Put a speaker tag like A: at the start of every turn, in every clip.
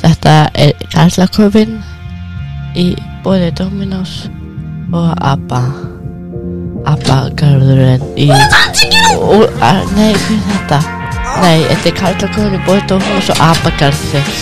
A: Þetta er karlakofinn í bóði Dominós og ABBA. ABBA-garðurinn í... Og, að, nei, hvað er þetta? Nei, þetta er karlakofinn í bóði Dominós og ABBA-garðurinn.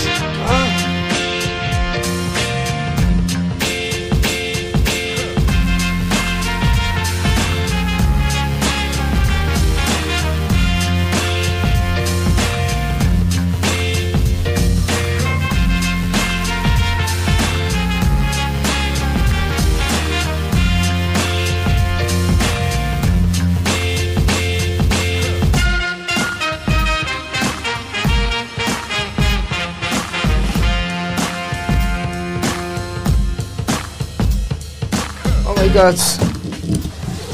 B: Oh my god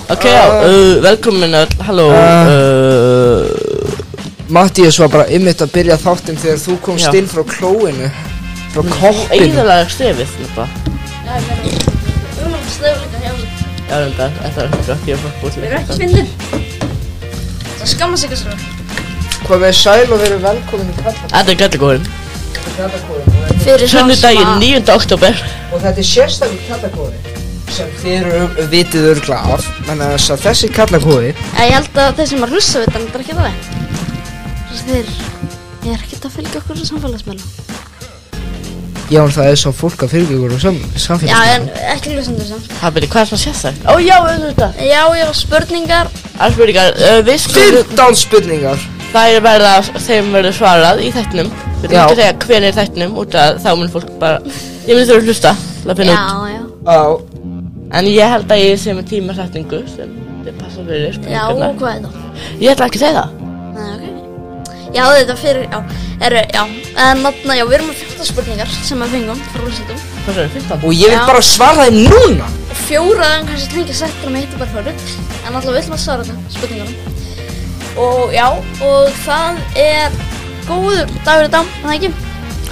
A: Ok, já,
C: Ah.
A: uh, velkomin öll, halló.
B: Ah.
A: Uh,
B: Mattias var bara ymmit að byrja þáttinn þegar þú komst
A: Já.
B: inn frá klóinu Frá koppinu
A: Eðalega stefið, nefna. Já, reyndar, þetta er ekki gott, ég er bara búin
C: Við erum ekki fyndin Það skamma sig þessar
B: Hvað með sæl og verið velkomin í Kallakórinn
A: Þetta er kallakofinn.
B: Kallakórinn og þetta-
C: Fyrir
A: Sunnudaginn 9. oktober.
B: Og þetta er sérstaklega Kallakórinn Sem þið eru vitið örgla af Menna þess að þessi Kallakóri
C: Ég held að þeir sem að russa við þannig er ekki það Svo sem þeir Ég er ekkert að fylgja okkur á samfélagsmiðlum
B: Já, en það er svo fólk að fyrir ykkur og sam,
C: Já,
B: samfélagsmiðlum
C: en ekki ljósandur samt
A: Það byrja, hvað er svona sérstætt? Ó já, auðvitað.
C: Já, já, spurningar
A: Allspurningar, uh, við skoðum,
B: 15 spurningar
A: það er verða, þeim verður svarað í þættinum. Við erum
B: Já.
A: ekki að segja hver er í þættinum, út að þá mun fólk bara, ég mun þurfa að hlusta, til að finna út.
C: já
B: Á,
A: En ég held að ég sé með tímasetningu sem þið passa fyrir
C: Já,
A: spurningarna.
C: og hvað er það?
A: Ég ætla ekki að segja það.
C: Nei, ok Já, þetta fyrir, já, eru, já En þarna, já, við erum með 15 spurningar sem að fengum frá russandum
A: Hvað er það, 15?
B: og ég vil
C: Já.
B: bara svara þeim núna
C: fjóraðan kannski tengja settur með hittu bara fyrir en alltaf vill maður svara þetta spurningunum og já og það er góður dagur í dag er það ekki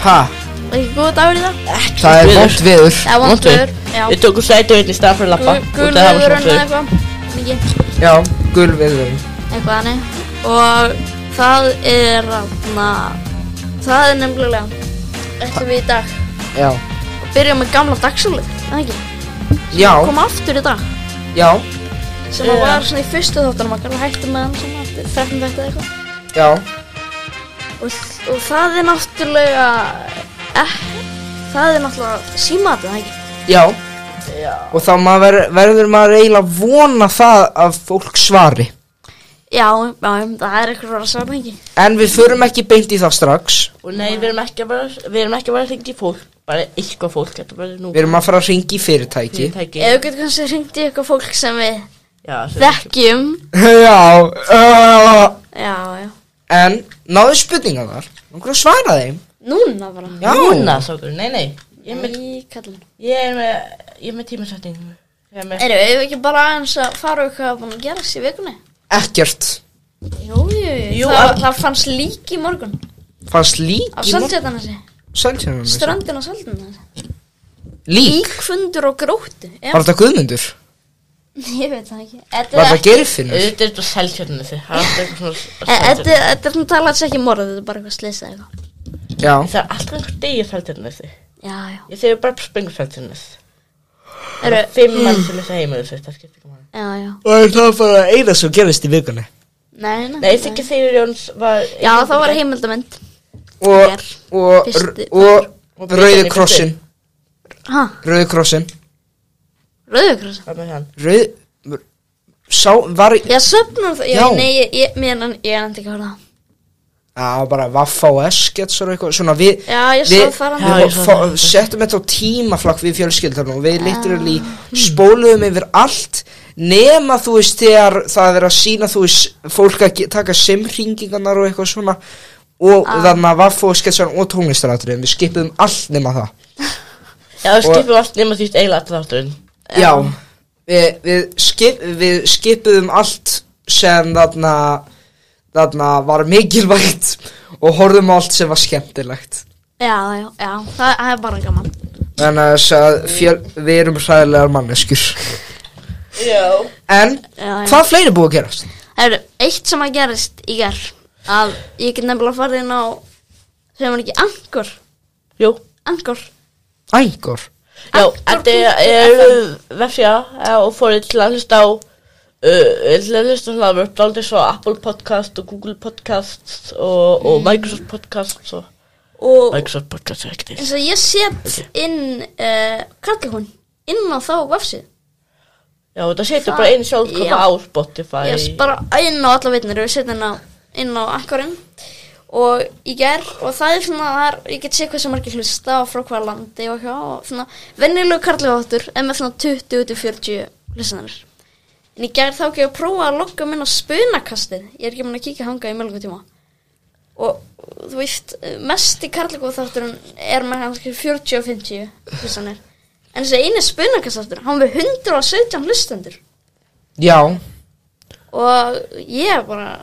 B: Ha,
C: það er ekki góður dagur í dag
B: það er
A: veður.
B: vont viður
C: það er
A: Vont veður.
C: vondur já
A: Við tókum sæti hérna í staðan fyrir lappa, út að hafa
C: gulvöður en
A: svona fyrir.
C: eitthvað er ekki
B: Já, gul viður
C: eitthvað hannig og það er na, það er nefnilega eftir við í dag
B: Já,
C: og byrja með gamla dagsúlið það ekki
B: já,
C: koma aftur í dag
B: já,
C: sem að
A: Já.
C: var svona í fyrstu þáttunum okkar og hættum með hann svona eftir 13 þetta eða eitthvað
B: já
C: og, og það er náttúrulega eh, það er náttúrulega símat en ekki
B: Já Og þá maður, verður maður eiginlega vona það að fólk svari
C: já, já, það er eitthvað að svara ekki
B: En við förum ekki beint í það strax
A: Og nei, við erum ekki að bara, við erum ekki að bara hringi fólk, bara eitthvað fólk, þetta er bara nú.
B: Við erum að fara að ringi í fyrirtæki
A: Fyrirtæki.
C: eða getur kannski hringt í eitthvað fólk sem við
A: Já, sem-
C: þekkjum
B: Já uh,
C: já, já,
B: En náðu spurningar þar Nókur að svara þeim
C: núna bara
B: Já
A: Núna, sákur, nei, nei Ég er með,
C: í kallinu
A: ég er með, ég er með tímasetningu Ég er með
C: erum við ekki bara aðeins að fara og hvað er búin að gerast í vikunni
B: Ekkert
C: jú, jú, jú,
A: Jú,
C: það,
A: að-
C: það fannst lík í morgun
B: Fannst lík
C: á Sandjötanesi,
B: Sælsjöðan
C: ströndin á Sandjötanesi
B: Lík
C: líkfundur og gróttu já,
B: Var þetta guðmundur?
C: ég veit það ekki Þetta
B: Var
C: er
B: þetta gerfinnur?
A: Þetta er bara seltjörnum þessi Það er alltaf eitthvað svona
C: E- Þetta
A: seltjörnum
C: þetta er svona talað sem ekki morð, þetta er bara eitthvað slysað eitthvað.
B: Já
A: Það er alltaf einhver degi seltjörnum þessi
C: Já, já.
A: Ég segi bara sprengur seltjörnum þessi
C: Eru, Mm.
A: Fimm mann sem þessi heimur þessi Það skiptir ekki máli
C: já, já.
B: Og það var bara eina sem gerist í vikunni
C: Nei, nei.
A: Nei, ég þykir Sigur Jóns var
C: Já, það var heimildamönd.
B: Og, og,
C: Fyrsti-
B: og,
A: Og
B: og Rauði
A: bikarinn í
B: krossin
C: Hæ,
B: Rauði krossin
C: rauðukrossin.
A: Hvað með hann?
B: Rauð Sá var í
C: Já, söpnum það. Já.
B: Já.
C: Nei, ég, ég, mér, en- ég er enda ekki að horfa á það.
B: Það var bara vaffa og eskets og eitthvað Svona við
C: Já, ég
B: Við,
C: sá það
A: Já,
C: hann.
A: ég
B: við
A: sá
B: fó-
A: það.
B: settum þetta á tímaflakk við fjölskyldanum og við literally
C: Hmm.
B: spóluðum yfir allt nema þú veist þegar það er að sína þú veist fólk að ge- taka simringingarnar og eitthvað svona og ah. þannig að vaff og sketsan og tónlistaratriðum við skipum allt nema það
A: Já, það skipir allt nema því eiginlega alltaf þátturinn
B: Já, við, við, skip, við skipuðum allt sem þarna, þarna var mikilvægt og horfðum á allt sem var skemmtilegt
C: Já, já, já. Það, það er bara gaman.
B: Þannig að þess að fjöl, við erum sæðilegar manneskjur
A: Já
B: En
C: Já, já.
B: hvað fleiri búið að gerast?
C: Það eru eitt sem að gerist í gerð. Að ég get nefnilega farið inn á, sem er ekki angur.
A: Jú,
C: Angor
B: Ægor
A: já,
C: Anchor.fm.
A: þetta er vefja og fórið til að hlusta á uh, til að hlusta á hlaðvörp daldið svo Apple Podcast og Google Podcast og, og Microsoft Podcast og
C: Mm. Og
A: Microsoft Podcast er ekkert eins.
C: eins og ég set inn uh, Kallahún inn á þá vefsið
A: Já, þetta setur
C: Það-
A: bara einu sjálfkoma
C: já.
A: á Spotify
C: Yes, bara inn á alla veitnir og setja inn á, inn á akkurinn og ég ger og það er svona þar, ég get séð hversu margir hlusta og frá hvaða landi og hjá og svona venjulegu karlugáttur en með svona 20-40 hlustanir en ég ger þá ekki að prófa að lokka minn á spunakastið ég er ekki mun að kíkja hanga í mjög tíma og þú veist mest í karlugáttarturinn er með kannski 40 og 50 hlustanir en þessi eini spunakastaftur hann við 117 hlustendur
B: Já
C: og ég er bara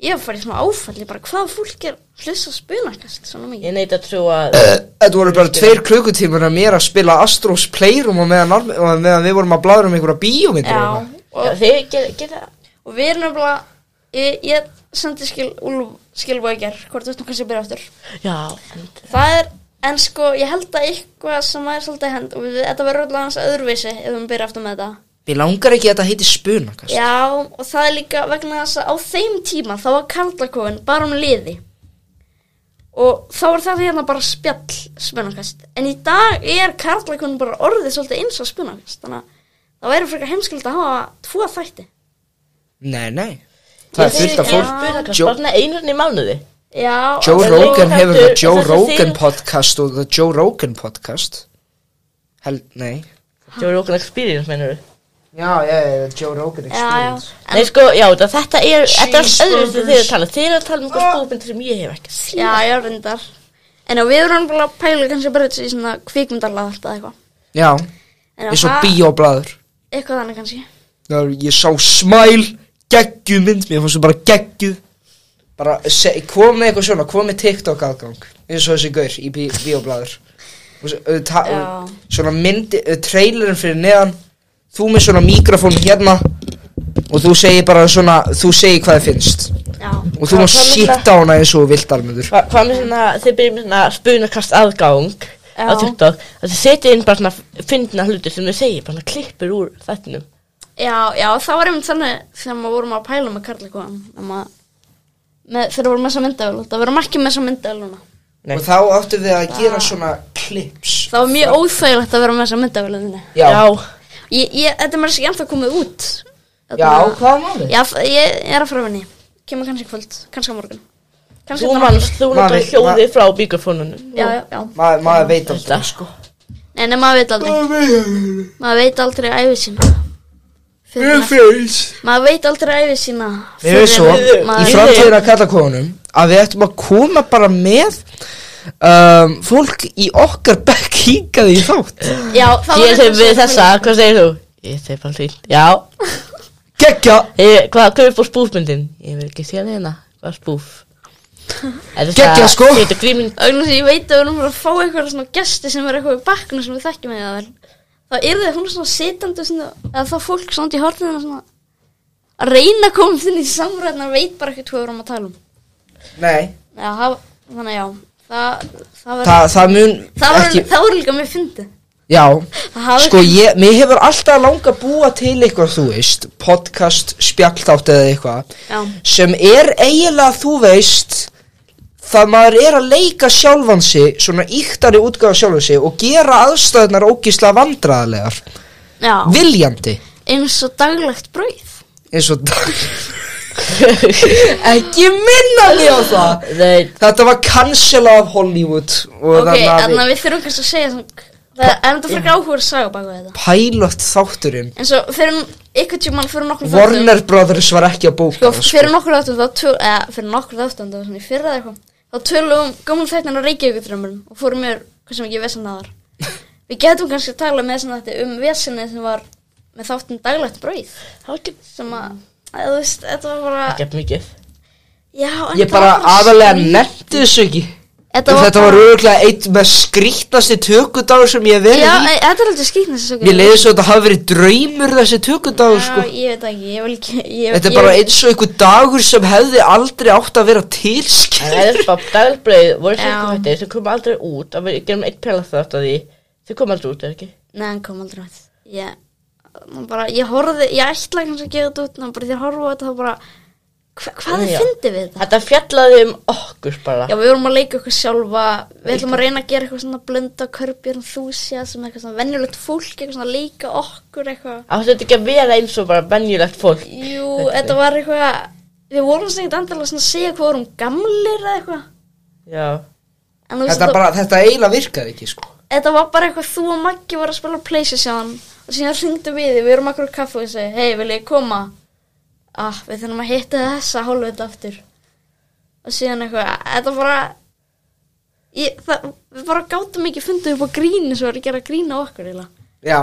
C: ég er bara í svona áfalli bara hvað fólk er hlusta að spuna kannski svona mikið
A: Ég neit að trúa að
B: Þetta voru bara tveir klukkutímur að mér að spila Astros Playroom og meðan, alme- og meðan við vorum að bladra um einhverja bíómyndir og
C: já,
B: eitthvað.
A: hérna. Já,
C: og,
A: þið geta, geta
C: og við erum nefnilega ég, ég sendi skil Úlf skilbúið í ger hvort þú veist nú kannski að byrja aftur
A: Já, en
C: það er en sko ég held að eitthvað sem er svolítið hend og við, þetta verður allavega hans öðruvísi ef við byrja aftur með þetta
B: Mér langar ekki að þetta heiti spunakast
C: Já, og það er líka vegna þess að á þeim tíma þá var karlakofin bara um liði og þá var þetta hérna bara spjall spunakast en í dag er karlakofin bara orðið svolítið eins og spunakast þannig að það væri frekar heimskild að hafa tvo þætti
B: Nei, nei Það er fullt af fólk
A: Spunakast
B: Joe-
A: bara svona einu sinni í mánuði
C: Já,
B: Joe
A: Þetta er
B: Rogan
A: þáttur-
B: hefur það Joe
A: þetta er
B: Rogan
A: þín-
B: podcast og það Joe Rogan podcast Held, nei
A: Joe Rogan Experience meinur við
B: Já, já, já, Joe Rogan
C: já, já,
B: Experience
A: Nei sko, já þetta, þetta er Þetta er
B: Cheeseburgers.
A: öðru sem þið eru að tala Þið eru að tala um einhver spúfmynd sem ég hef ekki séð.
C: já, já, reyndar en já, við erum bara að pæla kannski bara í svona kvikmyndarlað alltaf eitthvað
B: Já,
C: En
B: eins og
C: það-
B: bíóblaður
C: Eitthvað þannig kannski
B: Já, Ég sá smæl geggju mynd, mér fannst þú bara geggju Bara, se, kom með eitthvað svona, kom með TikTok aðgang Eins og þessi gaur í bí, bíóblaður og, svo- uh, ta,
C: Já.
B: og, Svona myndi, uh, trailerin fyrir neðan Þú með svona mikrofón hérna Og þú segir bara svona, þú segir hvað þið finnst
C: Já,
B: Og þú
A: Hvað-
B: mást
A: hvað myndir-
B: síta á hana eins og þú vilt almennur
A: Hva, Hvað með svona, þið byrjum með svona Spunakast aðgang Á
C: Já.
A: TikTok Það þið setja inn bara svona Fyndna hluti sem þið segir Bara svona klippur úr þettinum
C: já, já, það var einmitt þannig sem við vorum að pæla með karlakofin með, þegar við vorum með þessa myndavel það verðum ekki með þessa myndavel núna
A: Nei.
B: Og þá áttum við að gera svona klips
C: Það var mjög óþægilegt að vera með þessa myndavélinni.
B: Já, já,
C: Ég, ég, þetta er mér ekki ennþá komið út. Þetta-
B: hvað er málið?
C: Já, f- ég er að fara henni. Kemur kannski í kvöld, kannski á morgun. Kannski
A: Þú
C: þetta
A: manst, þú
B: Maður
A: notar
B: veit-
A: hljóði frá mikrofónunum
C: Já, já, já.
B: Maður, maður veit aldrei
A: Þetta sko
C: Nei, nei, maður veit aldrei. Maður veit aldrei æfið sína. Fyrir
B: Ég
C: en-
B: finnst
C: Maður veit aldrei æfið sína.
B: Mér
C: fyrir
B: veist svo,
C: en-
A: maður-
B: í framtíðina kallakonum að við ættum að koma bara með um, fólk í okkar bekk hingað í þátt
C: Já, það var
A: Ég
C: þetta
A: segi við
C: sem-
A: þessa, hvað segir þú? Ég segi bara því Já,
B: Gekja
A: Hey, hvað, hvað er upp á spúfmyndin? Ég vil ekki sé hérna, hvað er spúf?
B: Geggjað, sko.
A: Þetta grímynd
C: Vegna þess að ég veit að við erum bara að fá eitthvað svona gesti sem er eitthvað í bakkuna sem við þekkjum með það vel. Þá er það hún svona sitandi svona, eða þá fólk svona í hortinu svona að reyna að koma þinn í samræðin að veit bara ekkert hvað við erum að tala um.
B: Nei,
C: Já, það, þannig að já, það, það var,
B: það, það mun
C: það var,
B: ekki
C: það var líka mjög fyndið.
B: Já,
C: Það hafi-
B: sko ég, mér hefur alltaf langa að búa til eitthvað, þú veist podcast, spjalltátt eða eitthvað
C: Já.
B: sem er eiginlega, þú veist það maður er að leika sjálfan sig, svona íktari útgáfa sjálfan sig og gera aðstæðunar ógísla vandræðarlegar,
C: Já,
B: viljandi
C: eins og daglegt brauð.
B: eins og ekki minna mig á
C: sko.
B: það
A: Nei,
B: þetta var cancela af Hollywood og
C: Ok,
B: þannig að
C: þannig
B: við
C: að við þurfum kannski að segja svona, það er enda frekar áhugur saga baka þetta.
B: pilot þátturinn
C: En svo fyrir ykkur tjúman, fyrir nokkur
B: Warner Brothers var ekki að bóka
C: Sko,
B: það,
C: fyrir nokkur áttum þá töl, eða, fyrir nokkur áttum þá svona í fyrra eða eitthvað þá tölum gömul þættin á Reykjavíkutrömmun og fórum mér hversu mikið vesen það var við getum kannski að tala með þessum þetta um vesenni sem var með þáttin daglegt brauð
A: það var ekki
C: sem að, að þú veist, þetta var bara
A: gett mikið
C: já, en
B: ég
C: það
B: bara
C: var
B: aðalega
C: skrýt-
B: nefndi þessu ekki
C: Þetta var,
B: Þetta var auðvitað eitt með skrýtnasti tökudagur sem ég hef verið
C: Já,
B: í
C: e- þetta er aldrei skýtna þessi sögur
B: Mér leiði svo að þetta hafi verið draumur þessi tökudagur sko
C: Já, ég veit það ekki, ég vil ekki ég,
B: Þetta er
C: ég,
B: bara eins og einhver dagur sem hefði aldrei átt að vera til skil
A: Það er bara daglbreið voru
C: Já.
A: sérkvætti sem kom aldrei út að við gerum eitt pjala þátt að því þau kom aldrei út, er ekki?
C: Nei, hann kom aldrei með Ég, nú bara, ég horfði, ég ætla kannski að gefa þetta út En bara því að horfa á þetta þá bara hva,
A: Já.
C: Hvað er fyndið við þetta?
A: Þetta fjallaði um okkur bara
C: Já, við vorum að leika okkur sjálfa Við ætlum að reyna að gera eitthvað svona blunda Körbjörn þúsja sem eitthvað svona venjulegt fólk Eitthvað svona að leika okkur eitthvað
A: Áttu þetta ekki að vera eins og bara venjulegt fólk
C: Jú, þetta var eitthvað Við vorum sem eitthvað andala svona að segja hvað vorum gamlir eða eitthvað
A: Já,
C: En þú veist,
B: Þetta, bara, þetta eiginlega virkaði ekki sko
C: þetta var bara eitthvað þú og Maggi voru að spila PlayStation og síðan hringdu við þig, við erum akkur á kaffu og ég segi, hei, vil ég koma? Ah, við þurfum að hitta þessa hálfveit aftur og síðan eitthvað, þetta bara ég, það, við bara gátum ekki fundið upp á gríni sem var að gera grína okkur eiginlega.
B: Já,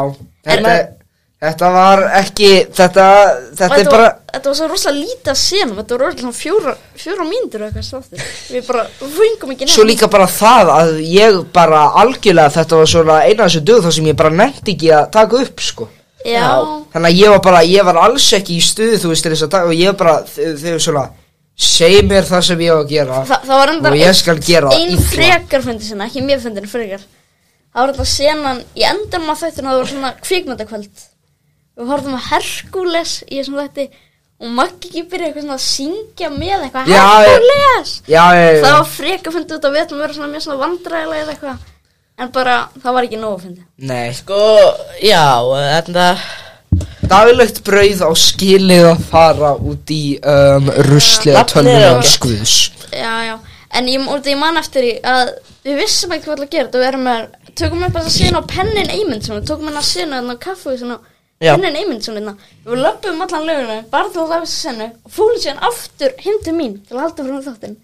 B: þetta,
A: En-
B: þetta var ekki Þetta,
C: Og
B: þetta er bara
C: var, þetta var svo rosalega lítið að senum þetta voru alltaf fjóra, fjóra mínútur eða eitthvað státtir við bara fengum ekki
B: Svo líka bara það að ég bara algjörlega þetta var svona eina af þessu dög þar sem ég bara nefndi ekki að taka upp sko
C: já,
A: Já.
B: Þannig að ég var bara, ég var alls ekki í stuði þú veist til þess að dag og ég var bara, þau þau svona, segi mér það sem ég á að gera
C: Þa, það var enda
B: og ég skal gera það
C: ein
B: illa.
C: frekar fundi sinna, ekki mér fundin frekar það var alltaf senan í endanum að þættinu það var svona kvikmyndakvöld við horfðum að Herkules í þessum þætti og Maggi ekki byrja eitthvað svona að syngja með eitthvað
B: Já, ég-
C: Herkules
B: Já, já, já,
C: það var frekar fundið út að við ætlum að vera svona mjög svona vandræðilega eitthvað en bara það var ekki nógu fundið
B: nei,
A: sko, já, þetta
B: daglegt brauð á skilið að fara út í um, ruslega
A: Nafnið er
B: tölvunum
A: ágætt.
B: skvus
C: já já en ég, og ég man eftir í að við vissum ekki hvað það gerði og við erum með tökum við bara að sína á pennin Eymundsson við tókum hennar að sína á kaffu
A: Já.
C: pennin Eymundsson hérna við löpum allan löguna bara til að lafa þessu sennu og fórum síðan aftur heim til mín til að halda frá þáttin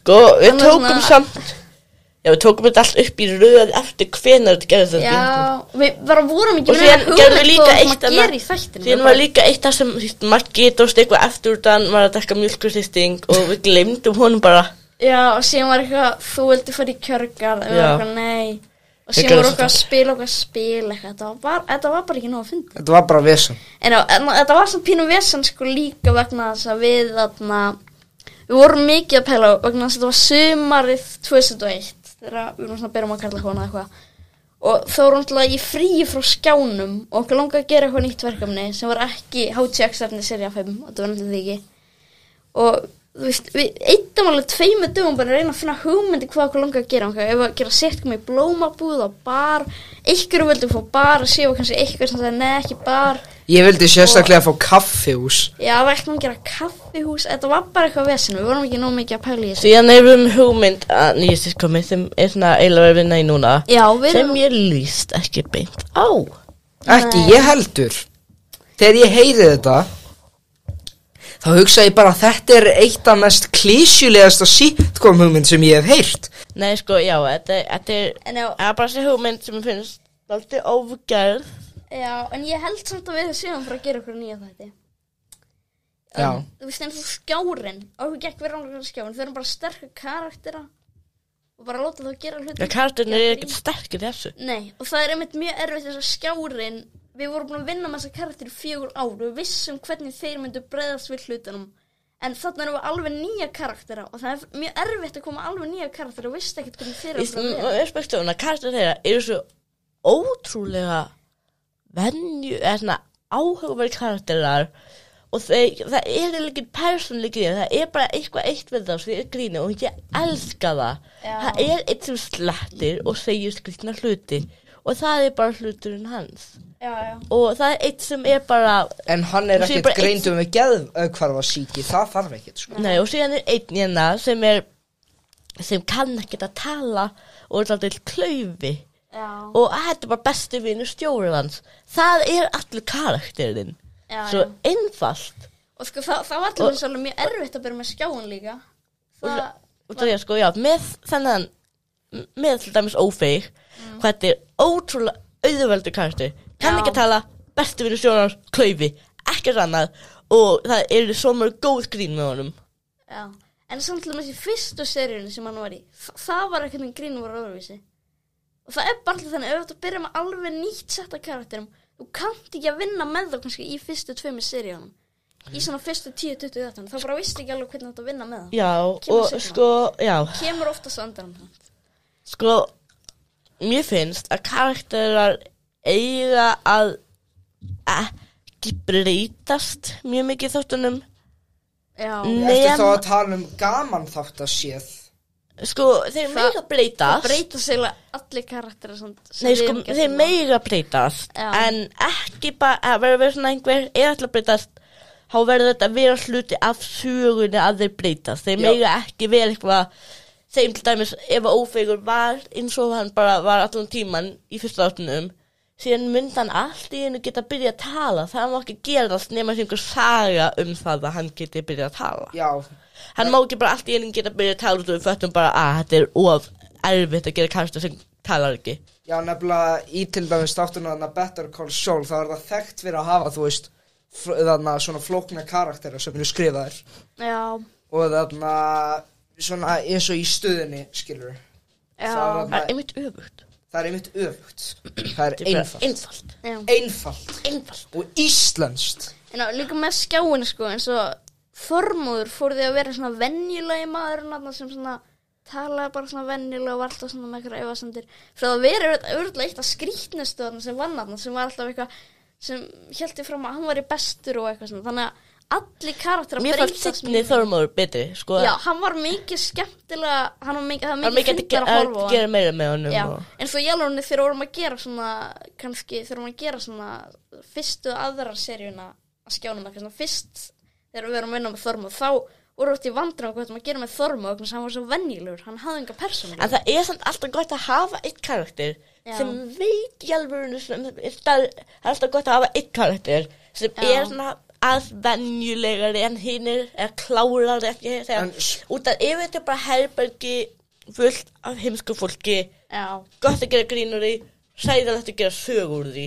A: Sko, við
C: Þannig
A: tókum
C: svona-
A: samt Já, við tókum þetta allt upp í röð eftir hvenar þetta gerði þetta
C: já við bara vorum
A: Og
C: ekki
A: síðan
C: neina
A: gerðum við
C: hugmynd
A: líka
C: hvað
A: eitt
C: maður gerir í þættinu
A: Síðan var líka eitt af sem þú veist, Maggi dóst eitthvað eftir út hann var að dekka mjölkursýsting og við glemdum honum bara
C: já og síðan var eitthvað þú vildi fara í kjörgar og við
A: Já.
C: varum eitthvað nei og
A: Ég
C: síðan
A: gerði
C: voru
A: svo
C: okkar að
A: það.
C: spila okkar spil eitthvað þetta var, þetta var bara ekki nóg að fyndi
B: Þetta var bara vesan
C: En, á- en þetta var svo pínu vesen sko líka vegna þess að við þarna, við vorum mikið að pæla vegna þess að þetta var sumarið 2001 þegar við vorum svona að byrjum að kalla hana eitthvað og þá vorum alltaf í fríi frá skjánum og okkur langaði að gera eitthvað nýtt verkefni sem var ekki HTX-efni serið 5 og þetta var náttúrulega ekki og þú veist, við eittum alveg tveimur dögum bara að reyna að finna hugmyndi hvað okkur langar að gera okkur. ef að gera setkum í blómabúð á bar, ykkur vildum fá bar að séu kannski ykkur sem sagði neð ekki bar
B: Ég vildi sérstaklega fá kaffihús
C: Já, við ætlum að gera kaffihús Þetta var bara eitthvað vesen, við vorum ekki nóg mikið að pæla í þessu
A: Síðan erum við með hugmynd að nýja sitcomi sem er svona eiginlega að vinna í núna
C: Já, við
A: sem
C: erum
A: ég líst ekki beint á
B: Ekki,
C: Nei.
B: ég heldur Þegar ég heyri þetta Þá hugsa ég bara að þetta er eitt af mest klísjulegasta sitcom hugmynd sem ég hef heyrt
A: Nei, sko, já, þetta, þetta er
C: En já,
A: það er bara þessi hugmynd sem mér finnst alltaf ógerð
C: já, en ég held samt að við séum fyrir að gera okkur nýja þætti
B: Já.
C: En, Þú veist eins og skjárin Okkur gekk við ráðum okkur skjárin Þau erum bara sterkur karaktera Og bara láta þá gera hluti
A: Já, kartinir er ekkert sterkir þessu
C: Nei, og það er einmitt mjög erfitt þess að skjárin Við vorum búin að vinna með þessa karakter í fjögur ár og Við vissum hvernig þeir myndu breyðast við hlutunum En þarna erum við alveg nýja karaktera Og það er mjög erfitt að koma alveg nýja karaktera Og visst ekkert hvernig þeir
A: Í
C: eru að vera
A: spekstofuna, kartinir þeirra eru svo ótrúlega venju, eða svona áhugaveri karakterar og þeir, það er eiginlega ekki persónleik í þeim, það er bara eitthvað eitt við það sem er grínu og ég elska það
C: Já.
A: það er eitt sem slettir og segir skrýtna hluti og það er bara hluturinn hans
C: Já, já
A: og það er eitt sem er bara
B: En hann er
A: Þú segir
B: ekkert um
A: bara eitt-
B: greindum með geðkvarfa síki Það þarf ekkert sko
A: Nei, og síðan er einn hérna sem er sem kann ekkert að tala og er alltaf klaufi
C: Já,
A: og þetta er bara bestu vinur stjórið hans það er allur karakterinn
C: já,
A: svo
C: já.
A: einfalt
C: Og sko, það, það
A: Og-
C: var allir eins og alveg mjög erfitt að byrja með skjáin líka. Það,
A: og það er sko, já, með þennan með til dæmis ófeig hvað þetta er ótrúlega auðveldu karakter kann
C: Mm. Já.
A: ekki að tala, bestu vinur stjórið hans klaufi, ekkert annað og það eru svo mörg góð grín með honum
C: já. en samt til þessi fyrstu seríunni sem hann var í þa- það var eitthvað grín var öðruvísi og það er bara alltaf þannig ef þú ert að byrja með alveg nýtt setta karakterum þú kannt ekki að vinna með það kannski í fyrstu tveimur seríunum í svona fyrstu 10-20 þáttunum þá bara vist ekki alveg hvernig þetta vinna með það
A: Já,
C: Kemur
A: og
C: seinna.
A: sko, já,
C: kemur oftast á andanum þannig
A: sko, mér finnst að karakterar eiga að ekki breytast mjög mikið í þáttunum.
C: já,
A: Nei,
B: Ertu
A: en-
B: þá að tala um gaman þátt að séð?
A: Sko, þeir
C: Það-
A: mega breytast.
C: breyta segla allir karakterar sem, sem
A: Nei,
C: við
A: sko,
C: erum gert
A: þeir
C: núna.
A: mega breytast.
C: Já.
A: En ekki bara að vera verið svona einhver er alltaf breytast. Há verður þetta að vera sluti af sögunni að þeir breytast. Þeir
B: Já.
A: mega ekki vera eitthvað þeim til dæmis ef að ófegur var eins og hann bara var allan tíman í fyrsta áttunum síðan myndi hann allt í einu geta að byrja að tala það má ekki gerast nema sem einhver saga um það að hann geti að byrja að tala
B: Já,
A: Hann má ekki bara allt í einu geta að byrja að tala og við föttum bara að þetta er of erfitt að gera karakter sem talar ekki
B: já nefnilega í til dæmis þáttuna þarna Better Call Saul þá er það þekkt fyrir að hafa, þú veist fl- þarna svona flókna karaktera sem eru skrifaðir
C: já,
B: og þarna svona eins og í stöðinni skilur Það
C: já,
B: var-
A: Það er einmitt öfugt
B: það er einmitt öfugt það er
A: Þetta er bara
B: einfalt
A: Einfalt
C: já.
B: einfalt
A: Einfalt
B: og íslenskt
C: En á, líka með skjáinu sko, eins og formúður fór því að vera svona venjulegi maður þarna sem svona talaði bara svona venjulega og var alltaf svona með eitthvað efasendir. Fyrir að vera auðvitað eitt af skrýtnustu þarna sem vann þarna sem var alltaf eitthvað sem hjælti fram að hann var í bestur og eitthvað svona. Þannig að allir karakterar
A: Mér fannst Signi Þormóður betri sko.
C: Já, hann var mikið skemmtilega, hann var mikið,
A: Það
C: það var
A: er
C: mikið
A: mikið að
C: fyndar
A: ge-
C: að
A: að
C: horfa á hann.
A: gera meira með honum
C: Já,
A: og...
C: en svo jálunni þegar vorum að gera svona, kannski þegar vorum að gera svona fyrstu aðra seríuna að skjánum eitthvað svona fyrst þegar við vorum að vinna með Þormóð þá vorum við í vandrum hvað þetta maður að gera með Þormóð þannig að hann var svo venjulegur, hann hafði enga persónu
A: En það er samt alltaf gott að hafa eitt karakter
C: Já.
A: sem veit í um alvörinu sem, það er alltaf gott að hafa eitt karakter sem
C: Já.
A: er svona að venjulegari en hinir eða klárari ekki þegar,
B: En s-
A: út af ef þetta er bara herbergi fullt af heimsku fólki
C: Já,
A: gott að gera grínur í sæðalegt að gera sög úr því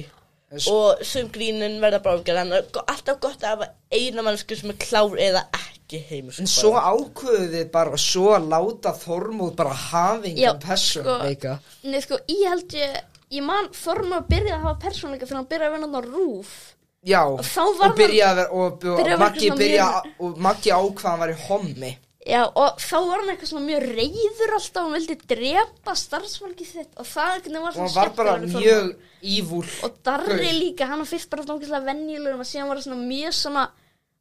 B: En s-
A: og sum grínin verða bara ágjörð en það er go- alltaf gott að hafa eina mannsku sem er klár eða ekki sko, heimsku
B: En svo ákveðu þið bara svo að láta Þormóð bara hafa
C: Já,
B: engan persónuleika.
C: neð sko, ég held ég ég man Þormóð byrjaði að hafa persónuleika þegar hann byrjaði að vinna á rúf
B: Já,
C: þá var
B: og byrja að vera, og, og,
C: byrja að vera
B: Maggi
C: svona
B: byrja,
C: mjög-
B: og Maggi ákvað hann var í hommi.
C: Já, og þá var hann eitthvað svona mjög reyður alltaf, hann vildi drepa starfsfólki þitt og það einhvern veginn var
B: Og hann
C: svona
B: var bara
C: skemmtilegur við Þormóð.
B: mjög ívúl.
C: og Darri líka, hann var fyrst bara nákvæmlega venjulegur og síðan var hann svona mjög svona